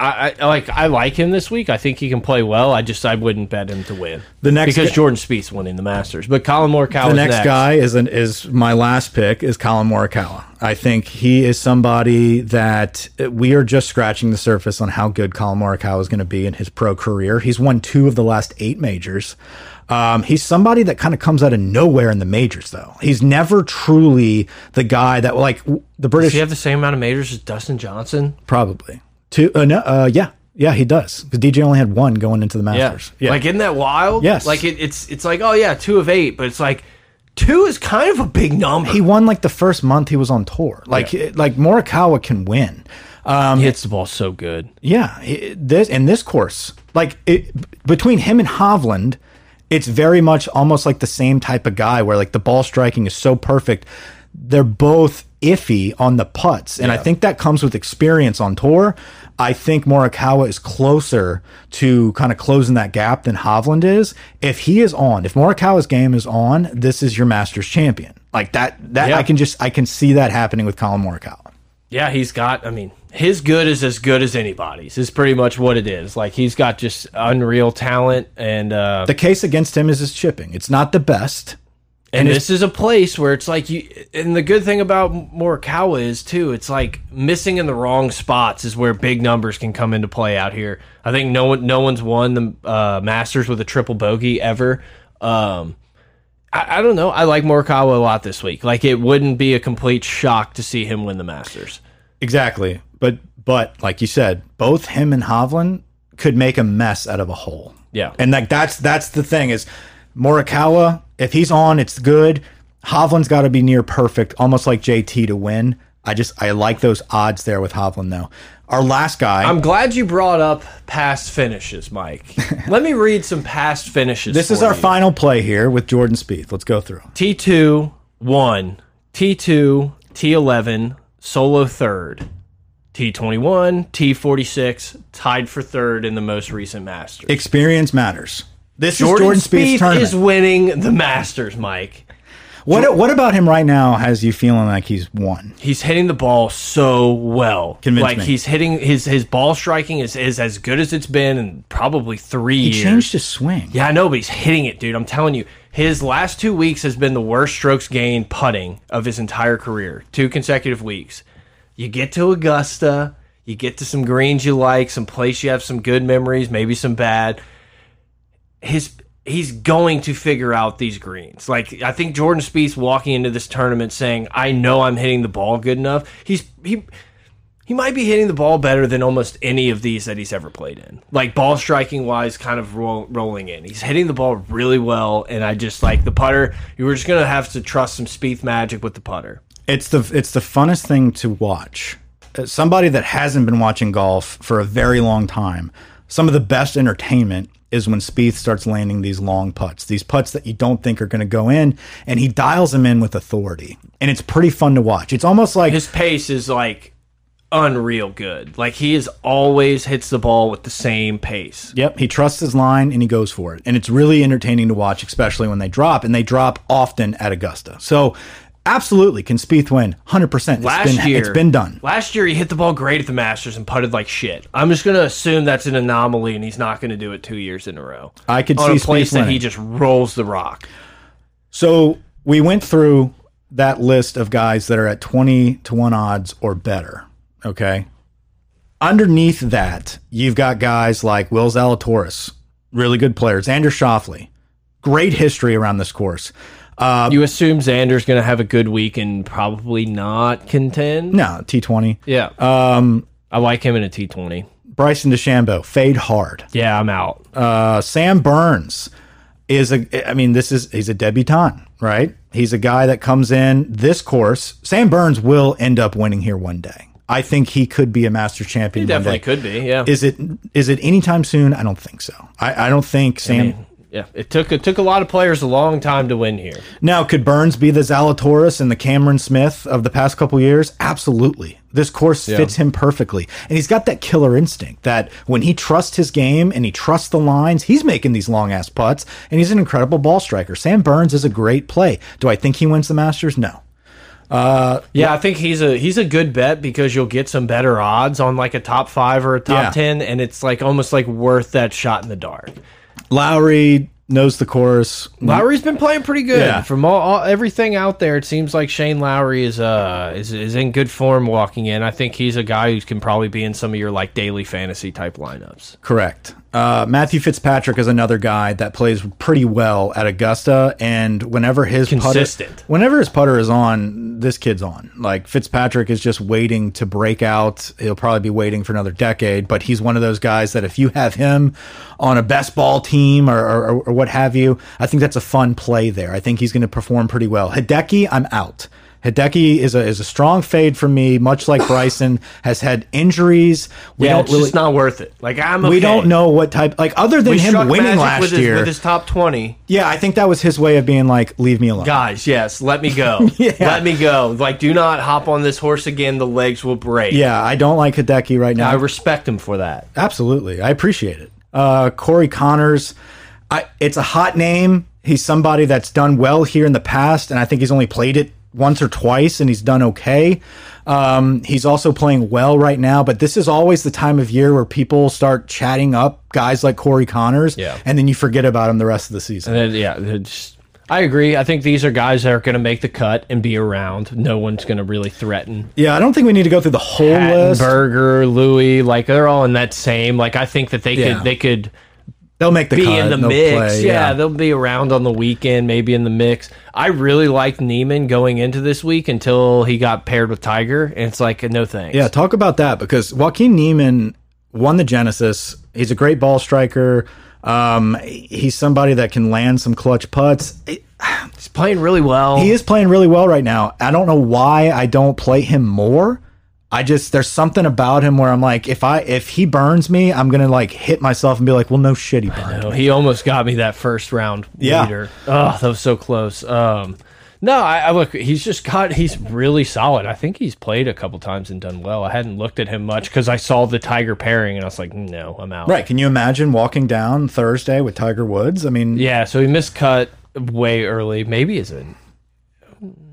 I, I like I like him this week. I think he can play well. I just I wouldn't bet him to win. The next because guy- Jordan Spieth won in the Masters, but Colin Morikawa the next, guy is an, is my last pick is Colin Morikawa. I think he is somebody that uh, we are just scratching the surface on how good Colin Morikawa is going to be in his pro career. He's won two of the last eight majors. Um, he's somebody that kind of comes out of nowhere in the majors, though. He's never truly the guy that like w- the British Does he have the same amount of majors as Dustin Johnson? probably two. Uh, no, uh, yeah, yeah, he does. Because DJ only had one going into the Masters. Yeah, Like, isn't that wild? Yes. Like, it, it's it's like, oh, yeah, two of eight, but it's like, two is kind of a big number. he won like the first month he was on tour. Like like Morikawa can win. He Um, hits the ball so good. Yeah, he- this and this course, like it, between him and Hovland, it's very much almost like the same type of guy where like the ball striking is so perfect. They're both iffy on the putts, and I think that comes with experience on tour. I think Morikawa is closer to kind of closing that gap than Hovland is. If he is on, if Morikawa's game is on, this is your Masters champion. Like that, that Yeah. I can just I can see that happening with Colin Morikawa. Yeah, he's got, I mean, his good is as good as anybody's, is pretty much what it is. Like, he's got just unreal talent, and, uh, The case against him is his chipping. It's not the best. and this is a place where it's like you. And the good thing about Morikawa is too, it's like missing in the wrong spots is where big numbers can come into play out here. I think no one, no one's won the uh, Masters with a triple bogey ever. Um, I, I don't know. I like Morikawa a lot this week. Like it wouldn't be a complete shock to see him win the Masters. Exactly. But but like you said, both him and Hovland could make a mess out of a hole. Yeah. And like that's that's the thing is Morikawa, if he's on, it's good. Hovland's got to be near perfect, almost like JT to win. I just I like those odds there with Hovland though. Our last guy, I'm glad you brought up past finishes, Mike. Let me read some past finishes. this is for our you. final play here with Jordan Spieth. Let's go through. T2, 1, T2, T11, solo third. T21, T46, tied for third in the most recent Masters. Experience matters. This is Jordan Spieth's tournament. is winning the Masters, Mike. what what about him right now has you feeling like he's won? He's hitting the ball so well. Convince like me. he's hitting his his ball striking is, is as good as it's been in probably three He years. changed his swing. Yeah, I know, but he's hitting it, dude. I'm telling you, his last two weeks has been the worst strokes gained putting of his entire career. Two consecutive weeks. You get to Augusta, you get to some greens you like, some place you have some good memories, maybe some bad. His he's going to figure out these greens. Like I think Jordan Spieth walking into this tournament saying, "I know I'm hitting the ball good enough." He's he he might be hitting the ball better than almost any of these that he's ever played in. Like ball striking wise, kind of roll, rolling in. He's hitting the ball really well, and I just like the putter. You were just gonna have to trust some Spieth magic with the putter. It's the it's the funnest thing to watch. As Somebody that hasn't been watching golf for a very long time. Some of the best entertainment is when Spieth starts landing these long putts, these putts that you don't think are going to go in, and he dials them in with authority, and it's pretty fun to watch. It's almost like His pace is like unreal good. Like he is always hits the ball with the same pace. Yep, he trusts his line and he goes for it. And it's really entertaining to watch, especially when they drop, and they drop often at Augusta. So, absolutely, can Spieth win? 100%. It's Last been, year, It's been done. Last year, he hit the ball great at the Masters and putted like shit. I'm just gonna assume that's an anomaly, and he's not gonna do it two years in a row I could on a see Spieth place that winning. he just rolls the rock. So we went through that list of guys that are at 20 to 1 odds or better. Okay. Underneath that, you've got guys like Will Zalatoris, really good players, Andrew Shoffley, great history around this course. you assume Xander's going to have a good week and probably not contend. No, T20. Yeah. Um, I like him in a T20. Bryson DeChambeau, fade hard. Yeah, I'm out. Uh, Sam Burns is a. I mean, this is he's a debutant, right? He's a guy that comes in this course. Sam Burns will end up winning here one day. I think he could be a master champion. He one definitely day. could be. Yeah. Is it is it anytime soon? I don't think so. I, I don't think Sam. yeah. It took it took a lot of players a long time to win here. Now, could Burns be the Zalatoris and the Cameron Smith of the past couple years? Absolutely. This course fits him perfectly. And he's got that killer instinct that when he trusts his game and he trusts the lines, he's making these long ass putts and he's an incredible ball striker. Sam Burns is a great play. Do I think he wins the Masters? No. Yeah, I think he's a he's a good bet because you'll get some better odds on like a top five or a top Yeah. ten, and it's like almost like worth that shot in the dark. Lowry knows the course. Lowry's been playing pretty good. Yeah. From all, all everything out there, it seems like Shane Lowry is uh is, is in good form walking in. I think he's a guy who can probably be in some of your like daily fantasy type lineups. Correct. Uh, Matthew Fitzpatrick is another guy that plays pretty well at Augusta, and whenever his Consistent. putter, whenever his putter is on, this kid's on. Like Fitzpatrick is just waiting to break out. He'll probably be waiting for another decade, but he's one of those guys that if you have him on a best ball team or, or, or what have you, I think that's a fun play there. I think he's going to perform pretty well. Hideki, I'm out. Hideki is a is a strong fade for me, much like Bryson has had injuries. We yeah, don't it's really just not worth it. Like I'm we okay. don't know what type like other than We him struck winning magic last with his, year with his top twenty. yeah i think that was his way of being like leave me alone guys yes let me go let me go like do not hop on this horse again the legs will break yeah i don't like hideki right now i respect him for that absolutely i appreciate it uh corey connors i it's a hot name he's somebody that's done well here in the past and i think he's only played it once or twice and he's done okay um, he's also playing well right now but this is always the time of year where people start chatting up guys like corey connors Yeah. and then you forget about him the rest of the season And then, yeah it's- i agree i think these are guys that are going to make the cut and be around no one's going to really threaten yeah i don't think we need to go through the whole list Hattenberger, Louis, like they're all in that same. Like I think that they Yeah. could they could they'll make the be cut, in the they'll mix. play, yeah. they'll be around on the weekend, maybe in the mix. I really liked Neiman going into this week until he got paired with Tiger, and it's like no thanks. Yeah, talk about that because Joaquin Neiman won the Genesis. He's a great ball striker. Um, he's somebody that can land some clutch putts. he's playing really well. He is playing really well right now. I don't know why I don't play him more. I just there's something about him where I'm like, if I if he burns me, I'm gonna like hit myself and be like, well, no shit, he burned. No, he almost got me that first round Yeah. leader. Oh, that was so close. Um, no, I, I look. He's just got. He's really solid. I think he's played a couple times and done well. I hadn't looked at him much because I saw the Tiger pairing and I was like, no, I'm out. Right? Can you imagine walking down Thursday with Tiger Woods? I mean, Yeah. So he missed cut way early. Maybe is it?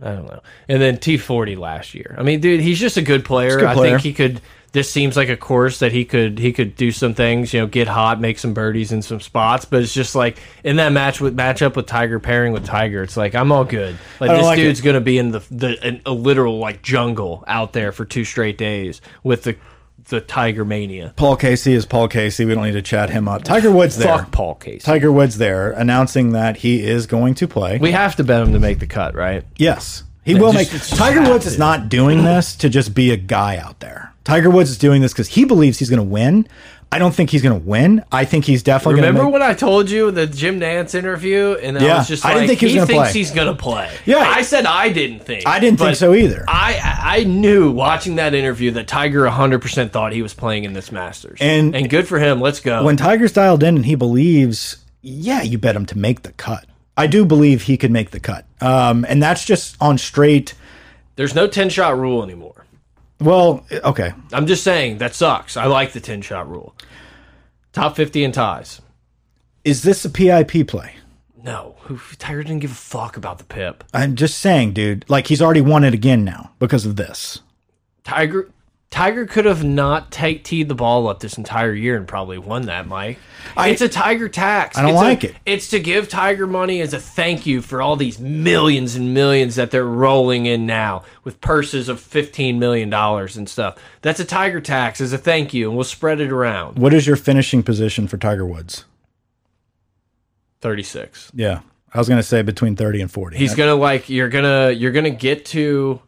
I don't know. And then T40 last year. I mean, dude, he's just a good player. good I player. think he could. This seems like a course that he could he could do some things. You know, get hot, make some birdies in some spots. But it's just like in that match with matchup with Tiger pairing with Tiger, it's like I'm all good. Like I don't this like dude's gonna be in the the in a literal like jungle out there for two straight days with the the Tiger mania. Paul Casey is Paul Casey. We don't need to chat him up. Tiger Woods there. Fuck Paul Casey. Tiger Woods there announcing that he is going to play. We have to bet him to make the cut, right? Yes, he will just- make. it's Tiger just Woods is not doing this to just be a guy out there. Tiger Woods is doing this because he believes he's going to win. I don't think he's going to win. I think he's definitely. Remember gonna make, when I told you the Jim Nance interview, and I Yeah, was just I like, didn't think he was he, gonna thinks play." he's gonna play. Yeah. I said I didn't think. I didn't think but so either. I I knew watching that interview that Tiger 100 percent thought he was playing in this Masters, And- and good for him. Let's go. when Tiger's dialed in and he believes, yeah, you bet him to make the cut. I do believe he could make the cut, um, and that's just on straight. There's no 10 shot rule anymore. Well, okay, I'm just saying that sucks. I like the 10 shot rule. Top 50 in ties. is this a PIP play? No, who, Tiger didn't give a fuck about the pip. I'm just saying, dude. Like he's already won it again now because of this. Tiger Tiger could have not take teed the ball up this entire year and probably won that, Mike. it's a Tiger tax. I don't It's a- like it. It's to give Tiger money as a thank you for all these millions and millions that they're rolling in now with purses of fifteen million dollars and stuff. That's a Tiger tax as a thank you, and we'll spread it around. What is your finishing position for Tiger Woods? Thirty six. Yeah. I was going to say between 30 and 40. He's gonna like you're gonna you're gonna get to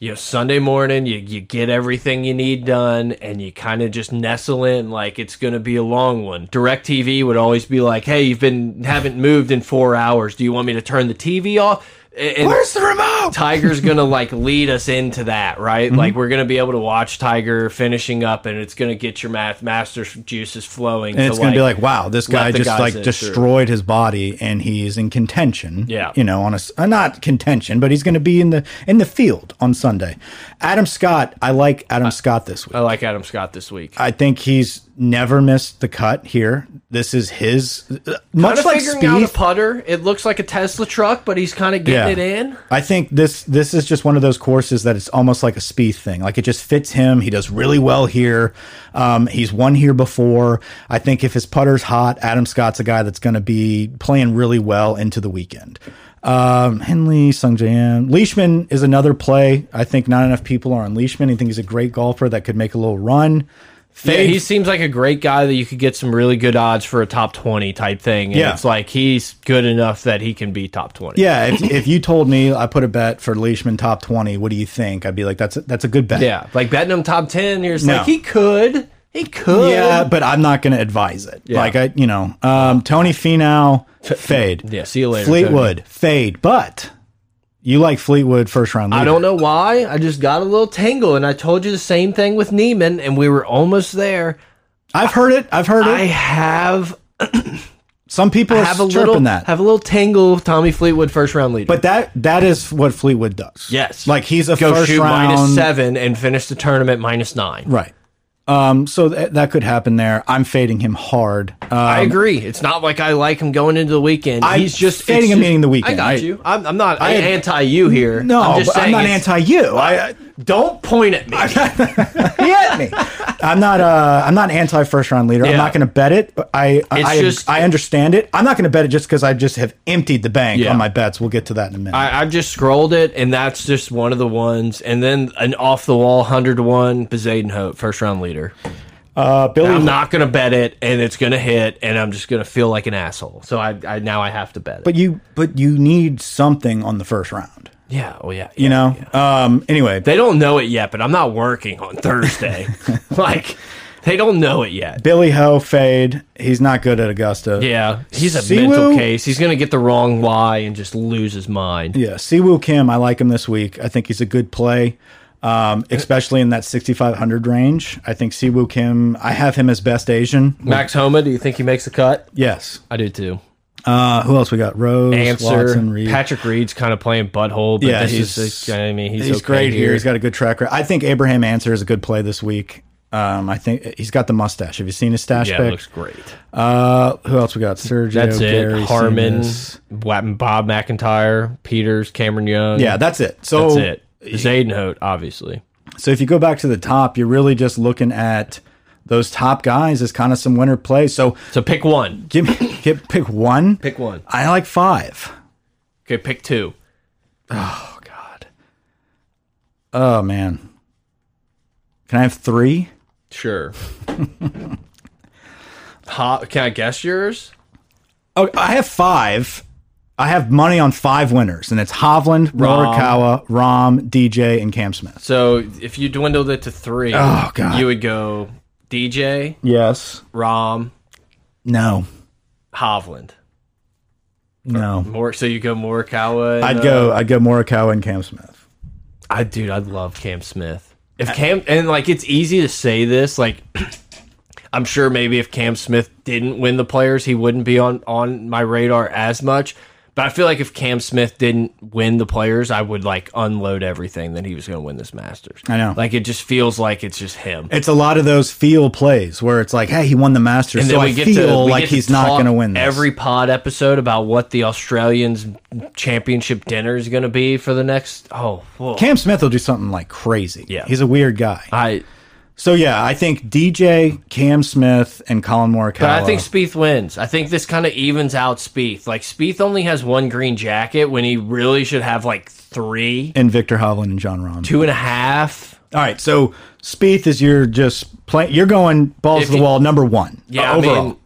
you know, Sunday morning, you you get everything you need done, and you kind of just nestle in like it's gonna be a long one. Directv would always be like, "Hey, you've been haven't moved in four hours. Do you want me to turn the TV off?" And- and- Where's the remote? Tiger's gonna like lead us into that, right? Mm-hmm. Like we're gonna be able to watch Tiger finishing up, and it's gonna get your math Masters juices flowing. And it's going to be like, wow, this guy let the just guys like in destroyed his body, and he's in contention. Yeah. you know, on a s- uh, not contention, but he's going to be in the in the field on Sunday. Adam Scott, I like Adam Uh, Scott this week. I like Adam Scott this week. I think he's never missed the cut here. This is his uh, much Kinda like figuring out a Spieth. putter. It looks like a Tesla truck, but he's kind of getting it in. I think this this is just one of those courses that it's almost like a Spieth thing. Like it just fits him. He does really well here. Um, he's won here before. I think if his putter's hot, Adam Scott's a guy that's going to be playing really well into the weekend. Um, Henley, Sung Jan, Leishman is another play. I think not enough people are on Leishman. I think he's a great golfer that could make a little run. Yeah, Fade- he seems like a great guy that you could get some really good odds for a top twenty type thing. And Yeah. it's like he's good enough that he can be top twenty. Yeah, if, if you told me I put a bet for Leishman top twenty, what do you think? I'd be like, that's a, that's a good bet. yeah. Like betting him top ten, you're just No. like he could, he could. Yeah, but I'm not going to advise it. Like I, you know, um, Tony Finau fade. yeah. See you later, Tony. Fleetwood fade. But you like Fleetwood first round. Leader. I don't know why. I just got a little tingle, and I told you the same thing with Neiman, and we were almost there. I've heard it. I've heard I it. have Some people are have a chirping little that. have a little tingle. with Tommy Fleetwood first round leader. but that that is what Fleetwood does. Yes. like he's a go first shoot round minus seven and finish the tournament minus nine. Right. Um. So th that could happen there. I'm fading him hard. Uh, I agree. It's not like I like him going into the weekend. I'm He's just fading it's him just- in the weekend. I got I- you. I'm, I'm not I- anti you here. no, I'm just but I'm saying not it's- anti you. I Don't point at me. he hit me. I'm not. Uh, I'm not anti first round leader. I'm Yeah. not going to bet it. But I. I, It's I, just- I understand it. I'm not going to bet it just because I just have emptied the bank Yeah. on my bets. We'll get to that in a minute. I, I just scrolled it, and that's just one of the ones. And then an off the wall hundred one Bezaden Hope first round leader. uh, Billy. I'm not gonna bet it, and it's gonna hit, and I'm just gonna feel like an asshole. So I, I now I have to bet it. but you. But you need something on the first round. yeah, oh yeah, You know. Um. Anyway, they don't know it yet, but I'm not working on Thursday. like they don't know it yet. Billy Ho fade. He's not good at Augusta. Yeah, he's a Siwoo- mental case. He's going to get the wrong lie and just lose his mind. Yeah, Siwoo Kim, I like him this week. I think he's a good play, Uh, um, especially in that 6,500 range. I think Siwoo Kim, I have him as best Asian. Max Homa, do you think he makes the cut? Yes. I do too. Uh, who else we got? Rose, Answer. Watson, Reed. Patrick Reed's kind of playing butthole, but Yeah, this he's- is, the- I mean, he's, he's okay great here. here. He's got a good track record. I think Abraham Answer is a good play this week. Um, I think he's got the mustache. Have you seen his stash yeah, it pick? looks great. uh, who else we got? Sergio, That's Gary, it. Harmon, Seamus. Wa- Bob McIntyre, Peters, Cameron Young. Yeah, that's it. So that's it. Zayden Hote, obviously. So if you go back to the top, you're really just looking at those top guys as kind of some winner play. So So pick one. give me give, pick one. Pick one. I like five. Okay, pick two. Oh God. Oh man. Can I have three? Sure. Hop, can I guess yours? Oh, I have five. I have money on five winners, and it's Hovland, Morikawa, Rom, DJ, and Cam Smith. So if you dwindled it to three, Oh, God. you would go DJ, Yes. Rom, No. Hovland. No. More, so you go Morikawa. and, I'd uh, go. I'd go Morikawa and Cam Smith. I dude, I'd love Cam Smith. If Cam and like it's easy to say this, like I'm sure maybe if Cam Smith didn't win the players, he wouldn't be on on my radar as much. But But I feel like if Cam Smith didn't win the players, I would like unload everything that he was going to win this Masters. I know. Like it just feels like it's just him. It's a lot of those feel plays where it's like, hey, he won the Masters, so I feel we like get to he's not talk going to win this. every pod episode about what the Australians championship dinner is going to be for the next. Oh, whoa. Cam Smith will do something like crazy. Yeah. he's a weird guy. I. So yeah, I think DJ, Cam Smith, and Colin Morikawa. But I think Spieth wins. I think this kind of evens out Spieth. Like Spieth only has one green jacket when he really should have like three, and Victor Hovland and John Rahm. two and a half. All right, so Spieth is you're just playing. You're going balls If to the you- wall, number one. Yeah, uh, overall. I mean,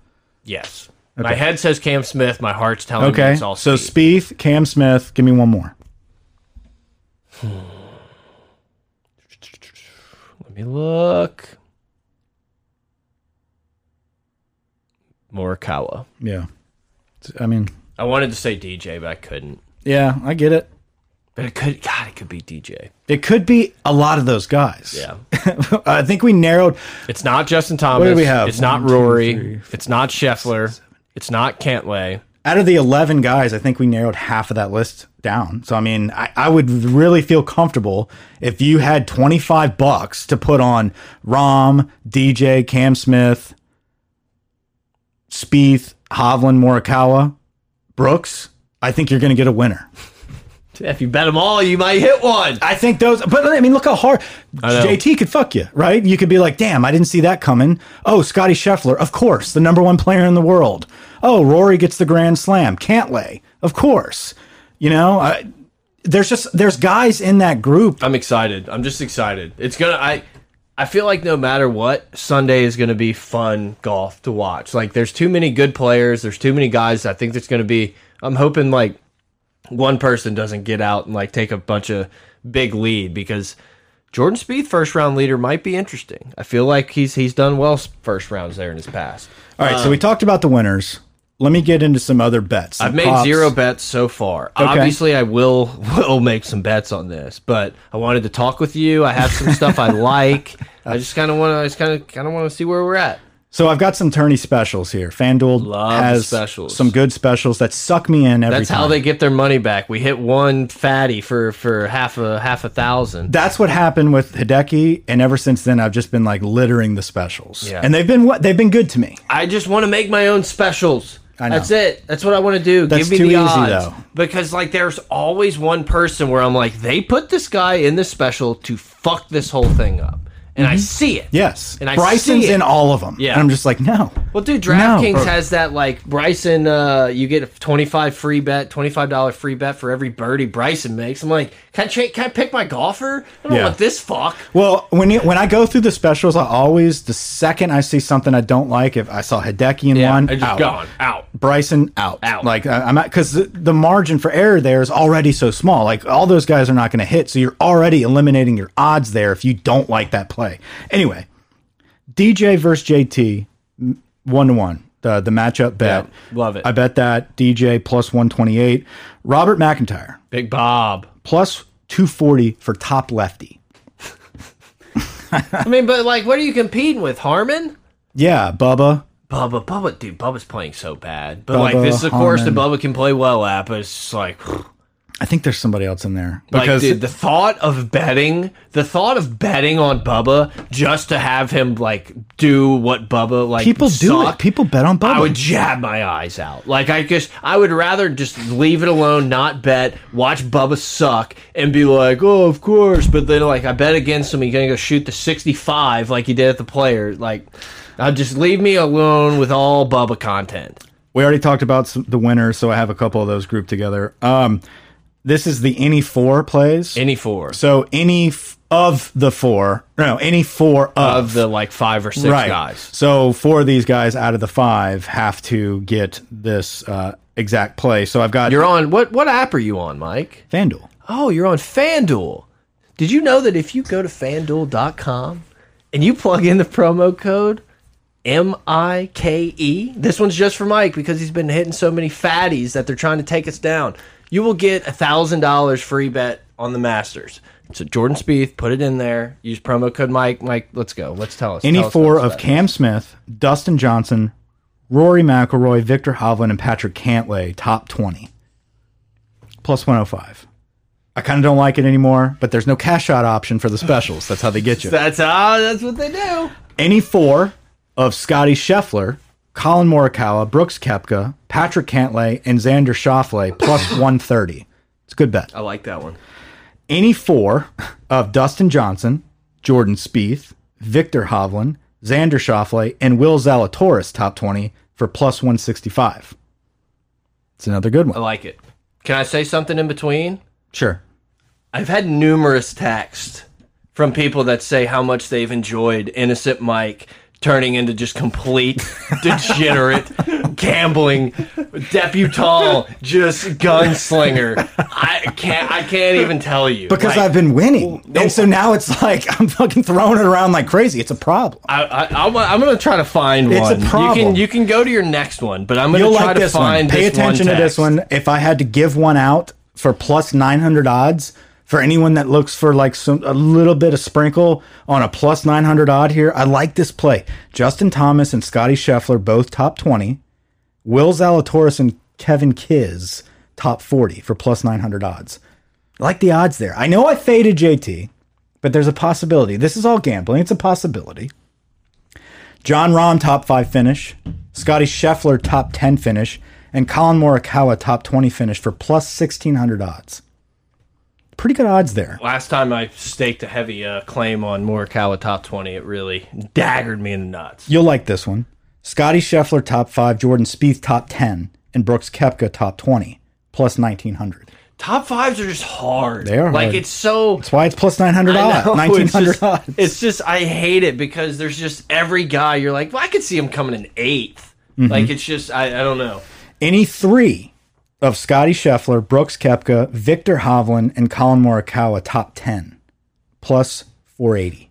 yes. My head says Cam Smith. My heart's telling me okay, it's all so Spieth. Spieth, Cam Smith. Give me one more. Let me look. Morikawa. Yeah, I mean, I wanted to say DJ, but I couldn't. yeah, I get it. But it could, God, it could be DJ. It could be a lot of those guys. Yeah. I think we narrowed. It's not Justin Thomas. do we have? It's not One, two, Rory. three, it's not Scheffler. It's not Cantlay. out of the 11 guys, I think we narrowed half of that list down. So, I mean, I, I would really feel comfortable if you had 25 bucks to put on Rom, DJ, Cam Smith, Spieth, Hovland, Morikawa, Brooks. I think you're going to get a winner. If you bet them all, you might hit one. I think those, but I mean, look how hard know. JT could fuck you, right? You could be like, damn, I didn't see that coming. Oh, Scotty Scheffler, of course, the number one player in the world. Oh, Rory gets the grand slam. Cantlay, of course. You know, I, there's just, there's guys in that group. I'm excited. I'm just excited. It's gonna. I. I feel like no matter what, Sunday is going to be fun golf to watch. Like, there's too many good players. There's too many guys. I think there's going to be. I'm hoping like one person doesn't get out and like take a bunch of big lead because Jordan Spieth, first round leader, might be interesting. I feel like he's he's done well s- first rounds there in his past. All right. so we talked about the winners. Let me get into some other bets. some Um, I've made props. zero bets so far. Obviously, I will will make some bets on this, but I wanted to talk with you. I have some stuff I like. I just kind of want to. I just kind of kind of want to see where we're at. So I've got some tourney specials here. FanDuel Love has specials. some good specials that suck me in every That's time. how they get their money back. We hit one fatty for for half a half a thousand. that's what happened with Hideki, and ever since then, I've just been like littering the specials, Yeah. and they've been what they've been good to me. I just want to make my own specials. I know. That's it. That's what I want to do. That's Give me too the easy, odds. though. Because like there's always one person where I'm like, they put this guy in this special to fuck this whole thing up. And Mm-hmm. I see it. Yes, And I Bryson's see it. in all of them. Yeah. and I'm just like, no. Well, dude, No. DraftKings Bro. has that like Bryson. Uh, you get a twenty-five free bet, twenty-five dollar free bet for every birdie Bryson makes. I'm like, can I, cha- can I pick my golfer? I don't Yeah. want this fuck. Well, when you, when I go through the specials, I always the second I see something I don't like, if I saw Hideki in one, I just out. gone out. Bryson out. Out. Like I- I'm at because the, the margin for error there is already so small. Like all those guys are not going to hit, so you're already eliminating your odds there if you don't like that play. Anyway, DJ versus JT m- one to one. The the matchup bet. Yeah, love it. I bet that DJ plus one twenty eight. Robert McIntyre Big Bob. plus two forty for top lefty. I mean, but like, what are you competing with, Harmon? Yeah, Bubba. Bubba, Bubba, dude, Bubba's playing so bad. But Bubba, like, this is a course that Harmon. Bubba can play well at. But it's just like, I think there's somebody else in there like, because dude, the thought of betting, the thought of betting on Bubba just to have him like do what Bubba like people do suck. it. People bet on Bubba. I would jab my eyes out. Like I just, I would rather just leave it alone, not bet, watch Bubba suck, and be like, oh, of course. But then, like, I bet against him, he's gonna go shoot the sixty-five like he did at the player. Like, I just leave me alone with all Bubba content. We already talked about some, the winners, so I have a couple of those grouped together. Um, this is the any four plays. Any four so any f of the four, no, any four of, of the like five or six right. guys. So four of these guys out of the five have to get this uh, exact play. So I've got You're on what? What app are you on, Mike? FanDuel. Oh, you're on FanDuel. Did you know that if you go to fanduel.com and you plug in the promo code M I K E, this one's just for Mike because he's been hitting so many fatties that they're trying to take us down. You will get a $1,000 free bet on the Masters. So Jordan Spieth, put it in there. Use promo code Mike. Mike, let's go. Let's tell us. Any Tell us four about of this. Cam Smith, Dustin Johnson, Rory McIlroy, Victor Hovland, and Patrick Cantlay, top twenty. plus 105. I kind of don't like it anymore, but there's no cash out option for the specials. That's how they get you. That's ah, that's what they do. Any four of Scotty Scheffler, Colin Morikawa, Brooks Kepka, Patrick Cantlay, and Xander Schauffele plus 130. It's a good bet. I like that one. Any four of Dustin Johnson, Jordan Spieth, Victor Hovland, Xander Schauffele, and Will Zalatoris top 20 for plus 165. It's another good I one. like it. Can I say something in between? Sure. I've had numerous texts from people that say how much they've enjoyed Innocent Mike turning into just complete degenerate gambling debutante just gunslinger i can't i can't even tell you Because Like, I've been winning. and so now it's like I'm fucking throwing it around like crazy. It's a problem. I, I, I'm, I'm going to try to find It's a one. You problem. can you can go to your next one, but I'm going You'll to try like to this find one. Pay this attention to this text. one. If I had to give one out for plus 900 odds for anyone that looks for like some a little bit of sprinkle on a plus 900 odd here, I like this play. Justin Thomas and Scotty Scheffler both top 20. Will Zalatoris and Kevin Kiz top 40 for plus 900 odds. I like the odds there. I know I faded JT, but there's a possibility. This is all gambling. It's a possibility. John Rahm top five finish, Scotty Scheffler top ten finish, and Colin Morikawa top twenty finish for plus sixteen hundred odds. Pretty good odds there. Last time I staked a heavy uh, claim on Morikawa top 20, it really daggered me in the nuts. You'll like this one. Scotty Scheffler top five, Jordan Spieth top ten, and Brooks Kepka top twenty, plus nineteen hundred. Top fives are just hard. They are like hard. it's so. That's why it's plus nine hundred I odds, know, nineteen hundred it's, just, odds. it's just I hate it because there's just every guy you're like, well, I could see him coming in 8th Mm-hmm. Like it's just I, I don't know. Any three of Scotty Scheffler, Brooks Kepka, Victor Hovland, and Colin Morikawa top ten, plus four eighty.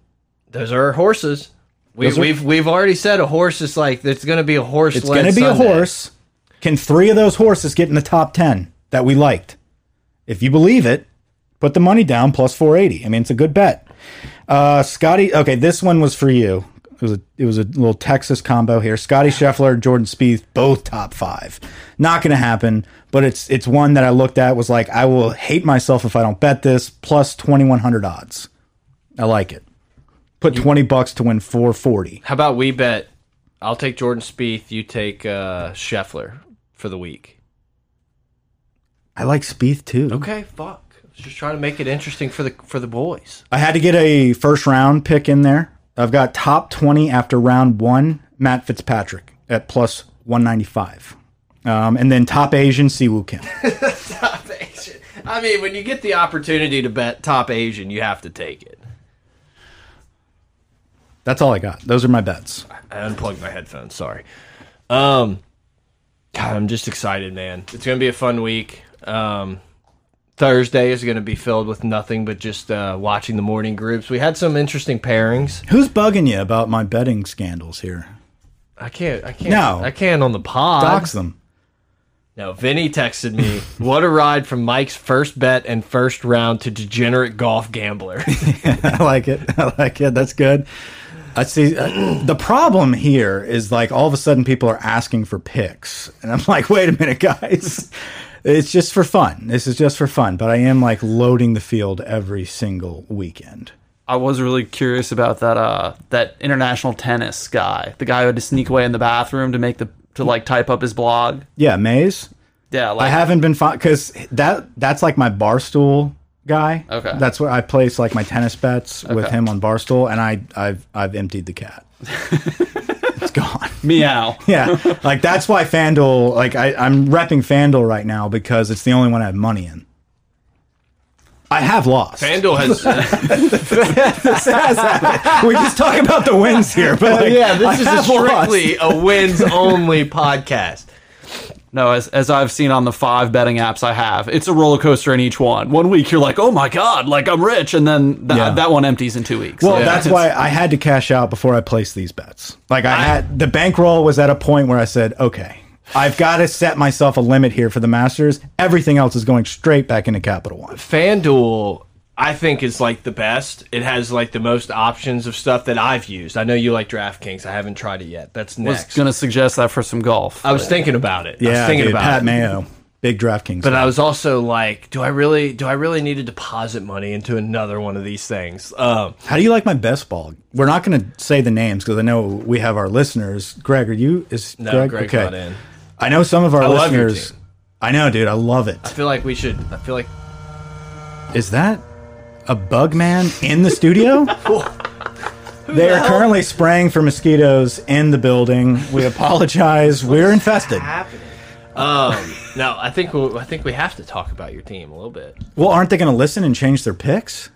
Those are horses. We, Those are- we've we've already said a horse is like there's going to be a horse. It's going to be a horse. Can three of those horses get in the top 10 that we liked? If you believe it, put the money down plus 480. I mean, it's a good bet. Uh, Scotty, okay, this one was for you. It was a, it was a little Texas combo here. Scotty Scheffler, Jordan Spieth, both top five. Not going to happen, but it's it's one that I looked at was like I will hate myself if I don't bet this plus 2100 odds. I like it. Put 20 bucks to win 440. How about we bet? I'll take Jordan Spieth. You take uh, Scheffler for the week. I like Spieth too. Okay, fuck. I was just trying to make it interesting for the for the boys. I had to get a first round pick in there. I've got top 20 after round one, Matt Fitzpatrick at plus 195. Um, and then top Asian, Siwoo Kim. Top Asian. I mean, when you get the opportunity to bet top Asian, you have to take it. That's all I got. Those are my bets. I unplugged my headphones. Sorry. Um, God, I'm just excited, man. It's gonna be a fun week. Um, Thursday is gonna be filled with nothing but just uh, watching the morning groups. We had some interesting pairings. Who's bugging you about my betting scandals here? I can't. I can't. No. I can't on the pod. Dox them. No, Vinny texted me, what a ride from Mike's first bet and first round to degenerate golf gambler. I like it. I like it. That's good. I see. uh, the problem here is like all of a sudden people are asking for picks, and I'm like, wait a minute, guys. It's just for fun. This is just for fun. But I am like loading the field every single weekend. I was really curious about that uh that international tennis guy, the guy who had to sneak away in the bathroom to make the to like type up his blog. Yeah, Maze. Yeah, like I haven't been fine because that that's like my barstool guy. Okay. that's where I place like my tennis bets with Okay. him on barstool, and I I've I've emptied the cat. it's gone. meow. yeah, like that's why FanDuel. Like I, I'm repping FanDuel right now because it's the only one I have money in. I have lost. FanDuel has. we just talk about the wins here, but like, yeah, I this is a have lost. strictly a wins only podcast. No, as as I've seen on the five betting apps I have, it's a roller coaster in each one. One week you're like, oh my god, like I'm rich, and then th Yeah. that one empties in two weeks. Well, Like, that's it's- why I had to cash out before I placed these bets. Like I, had the bankroll was at a point where I said, okay, I've got to set myself a limit here for the Masters. Everything else is going straight back into Capital One. FanDuel, I think, is like the best. It has like the most options of stuff that I've used. I know you like DraftKings. I haven't tried it yet. That's I was next. gonna suggest that for some golf. I was thinking about it. I was Yeah, thinking dude, about Pat it. Mayo. Big DraftKings. But I was also like, do I really do I really need to deposit money into another one of these things? Um, How do you like my best ball? We're not going to say the names because I know we have our listeners. Greg, are you? Is no, Greg, Greg got in. I know some of our love your listeners. team. I know, dude. I love it. I feel like we should. I feel like Is that a bug man in the studio? They are currently spraying for mosquitoes in the building. We apologize. We're infested. happening. Um, no, I think we, I think we have to talk about your team a little bit. Well, aren't they going to listen and change their picks?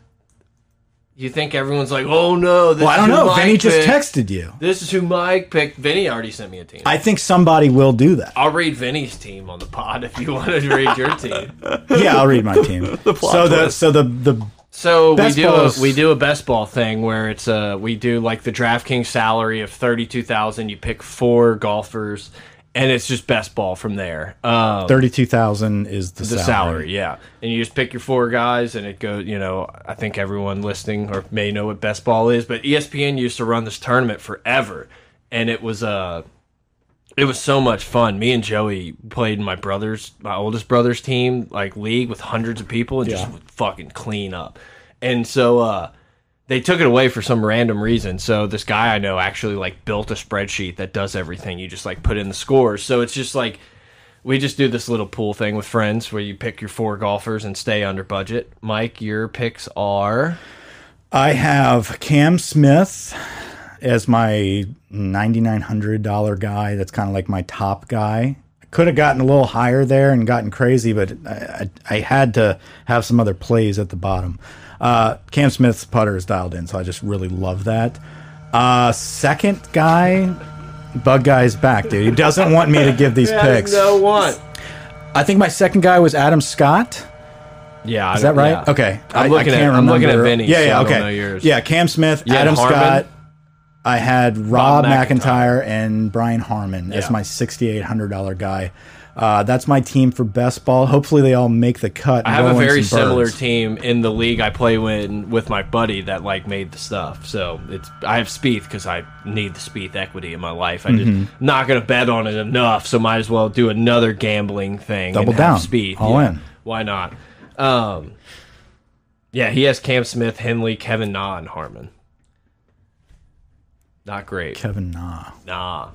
You think everyone's like, oh no, this Well, I don't is who know. Mike Vinny just picked. texted you. This is who Mike picked. Vinny already sent me a team. I think somebody will do that. I'll read Vinny's team on the pod if you want to read your team. Yeah, I'll read my team. so the so the the So Best we do a, balls. we do a best ball thing where it's uh we do like the DraftKings salary of thirty two thousand. You pick four golfers, and it's just best ball from there. Um, thirty-two thousand is the, the salary. salary, yeah, and you just pick your four guys, and it goes. You know, I think everyone listening or may know what best ball is, but E ESPN used to run this tournament forever, and it was uh it was so much fun. Me and Joey played in my brother's, my oldest brother's team, like league with hundreds of people and just would fucking clean up. And so uh, they took it away for some random reason. So this guy I know actually like built a spreadsheet that does everything. You just like put in the scores. So it's just like we just do this little pool thing with friends where you pick your four golfers and stay under budget. Mike, your picks are I have Cam Smith as my ninety-nine hundred dollar guy. That's kind of like my top guy. I could have gotten a little higher there and gotten crazy, but I, I, I had to have some other plays at the bottom. Uh, Cam Smith's putter is dialed in, so I just really love that. Uh, second guy, Bug Guy's back, dude. He doesn't want me to give these picks. no one. I think my second guy was Adam Scott. Yeah, Is that right? Okay. I- I looking at- can't I'm looking at remember. Vinny's, Yeah, so yeah, I okay. don't know yours. Yeah, Cam Smith, had Adam Harmon? Scott. I had Rob, McEntire. McIntyre and Brian Harmon as Yeah. my $6,800 guy. Uh, that's my team for best ball. Hopefully, they all make the cut. And I have go a win very some similar birds. team in the league I play in with my buddy that like made the stuff. So it's I have Spieth because I need the Spieth equity in my life. I Mm-hmm. just not gonna bet on it enough, so might as well do another gambling thing. Double and have down. Spieth. All Yeah. in. Why not? Um, yeah, he has Cam Smith, Henley, Kevin Na, and Harmon. Not great. Kevin Nah. Nah.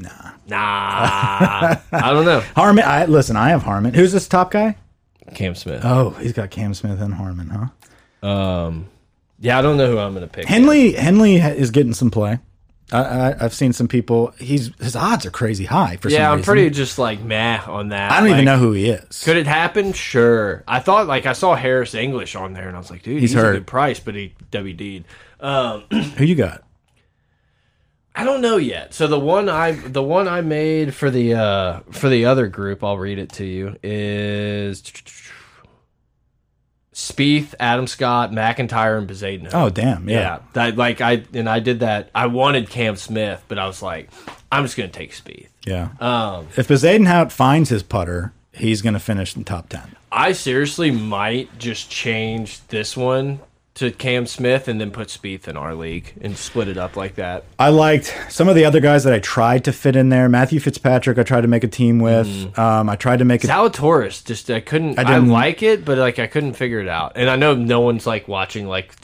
Nah. Nah. I don't know. Harmon, I, listen, I have Harmon. Who's this top guy? Cam Smith. Oh, he's got Cam Smith and Harmon, huh? yeah, I don't know who I'm gonna pick. Henley Henley ha- is getting some play. I, I, I've seen some people. He's his odds are crazy high for some yeah, I'm reason. pretty just like meh on that. I don't even Like, know who he is. Could it happen? Sure. I thought like I saw Harris English on there, and I was like, dude, he's, hurt. a good price, but he WD'd. Um, who you got? I don't know yet. So the one I the one I made for the uh, for the other group, I'll read it to you is Spieth, Adam Scott, McIntyre, and Bezadna. Oh, damn. yeah. yeah. that like I and I did that. I wanted Cam Smith, but I was like, I'm just gonna take Spieth. Yeah. Um, if Bezadenhout finds his putter, he's going to finish in top 10. I seriously might just change this one to Cam Smith and then put Spieth in our league and split it up like that. I liked some of the other guys that I tried to fit in there. Matthew Fitzpatrick, I tried to make a team with. Mm. Um, I tried to make a. Zalatoris, just I couldn't. I, didn't- like it, but like I couldn't figure it out. And I know no one's like watching like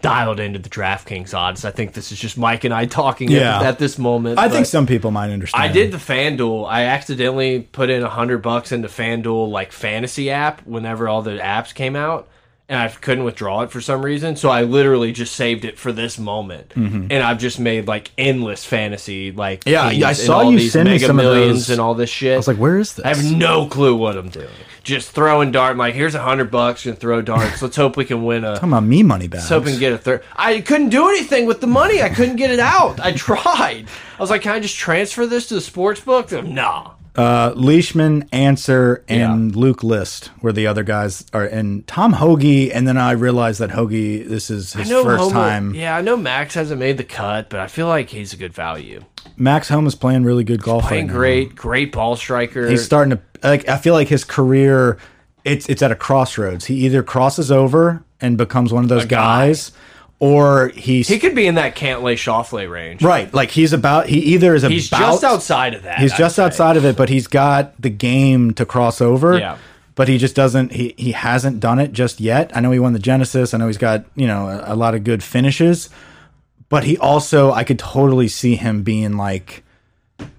dialed into the DraftKings odds. I think this is just Mike and I talking at- Yeah. at, this moment. I but think some people might understand. I did the FanDuel. I accidentally put in a hundred bucks into FanDuel like fantasy app whenever all the apps came out, and I couldn't withdraw it for some reason. So I literally just saved it for this moment, and I've just made like endless fantasy like Mm-hmm. Yeah, teams I and saw all you these send me Mega some of millions those. and all this shit. I was like, where is this? I have no clue what I'm doing. Just throwing dart. I'm like, here's a hundred bucks. Gonna throw darts. Let's hope we can win a. Talking about me money back. Let's hope we can get a third. I couldn't do anything with the money. I couldn't get it out. I tried. I was like, can I just transfer this to the sports book? They're like, Nah. Uh, Leishman, Answer, and Luke List were the other guys. Are and Tom Hoagie, and then I realized that Hoagie, this is his first Homer- time. Yeah, I know Max hasn't made the cut, but I feel like he's a good value. Max Home is playing really good golf. Playing right now. great, great ball striker. he's starting to like i feel like his career it's it's at a crossroads he either crosses over and becomes one of those guys or he's He could be in that Cantlay Shoffley range. right. Like he's about. He either is He's about. just outside of that. He's I'd just say. outside of it, but he's got the game to cross over. Yeah. But he just doesn't. He he hasn't done it just yet. I know he won the Genesis. I know he's got you know a, a lot of good finishes, but he also I could totally see him being like,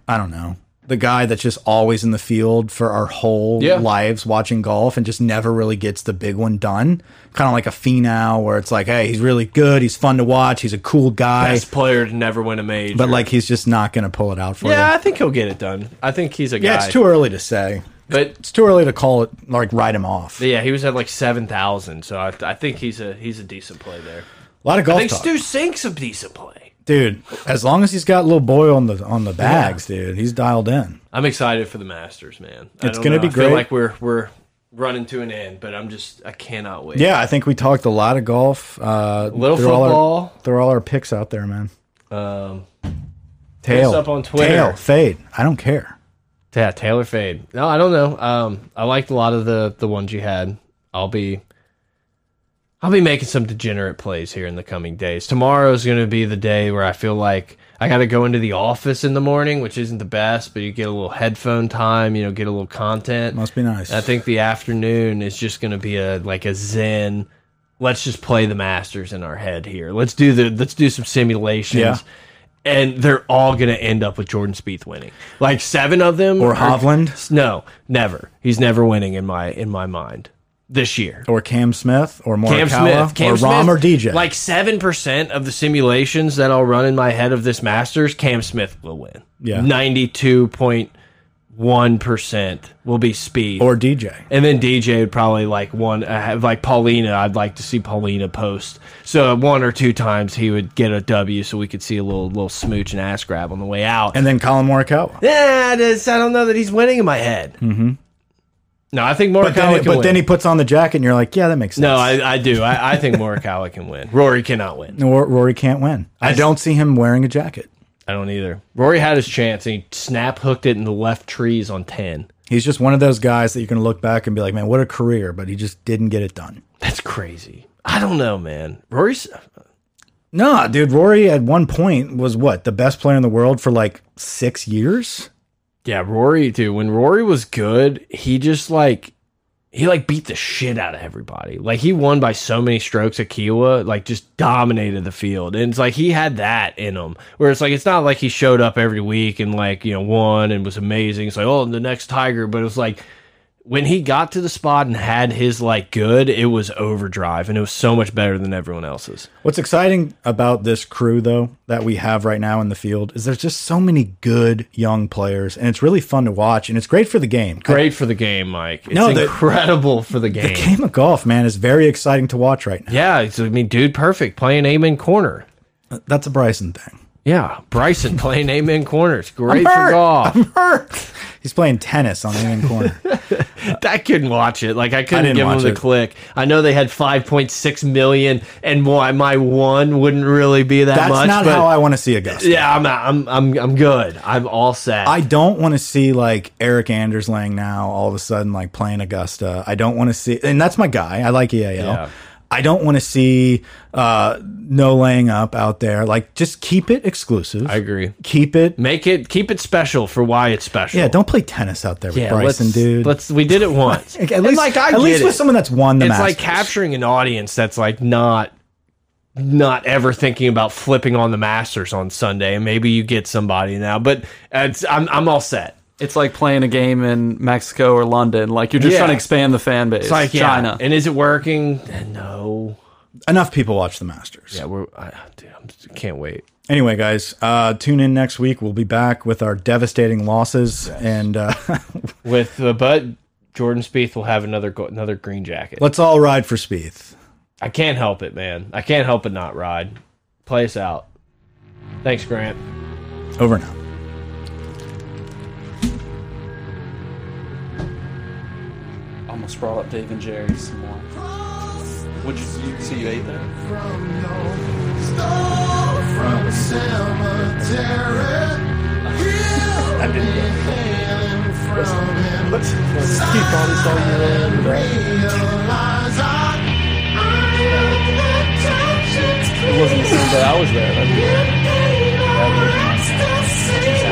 I don't know, the guy that's just always in the field for our whole Yeah. lives watching golf and just never really gets the big one done. Kind of like a Finau, where it's like, hey, he's really good. He's fun to watch. He's a cool guy, Best player to never win a major. but like he's just not going to pull it out for yeah, you. I think he'll get it done. I think he's a guy. Yeah, it's too early to say But it's too early to call it like write him off. A yeah, he was at like seven thousand. So I, I think he's a he's a decent play there. lot of I golf think talk, Stu Sink's a decent play. dude. As long as he's got little boy on the on the bags, dude, he's dialed in. I'm excited for the Masters, man. I It's don't gonna know. be I feel great. like we're we're running to an end, but I'm just I cannot wait. Yeah, I think we talked a lot of golf. Uh, Little through all our- football. through all our picks out there, man. Um, Tail up on Twitter. Tail fade. I don't care. yeah, Taylor Fade. No, I don't know. Um, I liked a lot of the the ones you had. I'll be I'll be making some degenerate plays here in the coming days. Tomorrow is going to be the day where I feel like I got to go into the office in the morning, which isn't the best, but you get a little headphone time, you know, get a little content. Must be nice. I think the afternoon is just going to be a like a zen. Let's just play the Masters in our head here. Let's do the let's do some simulations. Yeah. And they're all going to end up with Jordan Spieth winning. Like seven of them or are- Hovland No, never. He's never winning in my in my mind this year. or Cam Smith or Morikawa Cam Smith, Cam or Rom Smith, or DJ. Like seven percent of the simulations that I'll run in my head of this Masters, Cam Smith will win. Yeah. ninety-two point one percent will be speed. or DJ. and then DJ would probably like one, I have- like Paulina. I'd like to see Paulina post. So one or two times he would get a W, so we could see a little little smooch and ass grab on the way out. And then Colin Morikawa. yeah, that's- I don't know that he's winning in my head. Mm-hmm. No, I think Morikawa But then, can but win. then he puts on the jacket, and you're like, yeah, that makes sense. No, I, I do. I, I think Morikawa can win. Rory cannot win. Or Rory can't win. I don't see him wearing a jacket. I don't either. Rory had his chance and he snap hooked it in the left trees on 10. He's just one of those guys that you can look back and be like, man, what a career, but he just didn't get it done. That's crazy. I don't know, man. Rory's Nah, dude, Rory at one point was what, the best player in the world for like six years? Yeah, Rory too. When Rory was good, he just like he like beat the shit out of everybody. Like he won by so many strokes at Kiowa, like just dominated the field. And it's like he had that in him. Where it's like it's not like he showed up every week and like, you know, won and was amazing. It's like, oh, the next tiger, but it was like when he got to the spot and had his like good, it was overdrive and it was so much better than everyone else's. What's exciting about this crew, though, that we have right now in the field is there's just so many good young players, and it's really fun to watch, and it's great for the game. Great for the game, Mike. It's No, the- incredible for the game. The game of golf, man, is very exciting to watch right now. yeah, it's, I mean, dude, perfect playing amen corner. That's a Bryson thing. Yeah, Bryson playing amen corners. Great for golf. He's playing tennis on the end corner. I couldn't watch it. Like I couldn't didn't give him watch the it. click. I know they had 5.6 million, and my my one wouldn't really be that That's much. not but how I want to see Augusta. yeah, I'm I'm I'm I'm good. I'm all set. I don't want to see like Eric Anderslang now all of a sudden like playing Augusta. I don't want to see, and that's my guy. I like EAL. Yeah. I don't want to see uh, no laying up out there. Like, just keep it exclusive. I agree. Keep it. Make it keep it special for why it's special. Yeah, don't play tennis out there with Yeah, Bryson, let's, dude. Let's we did it once. at And, least, like I at get least it. with someone that's won the it's Masters. like capturing an audience that's like not not ever thinking about flipping on the Masters on Sunday, and maybe you get somebody now. But it's, I'm I'm all set. It's like playing a game in Mexico or London. Like you're just Yeah. trying to expand the fan base. It's like yeah. China. and is it working? No. Enough people watch the Masters. Yeah, we're I, dude, I'm, just- can't wait. Anyway, guys, uh, tune in next week. We'll be back with our devastating losses, and uh, With the but Jordan Spieth will have another go- another green jacket. let's all ride for Spieth. I can't help it, man. I can't help but not ride. Play us out. Thanks, Grant. Over now. almost brought up Dave and Jerry some more. Would you see you ate there? realize I, I am the touch, it's clear. wasn't the same day I was there. That'd be- that'd be-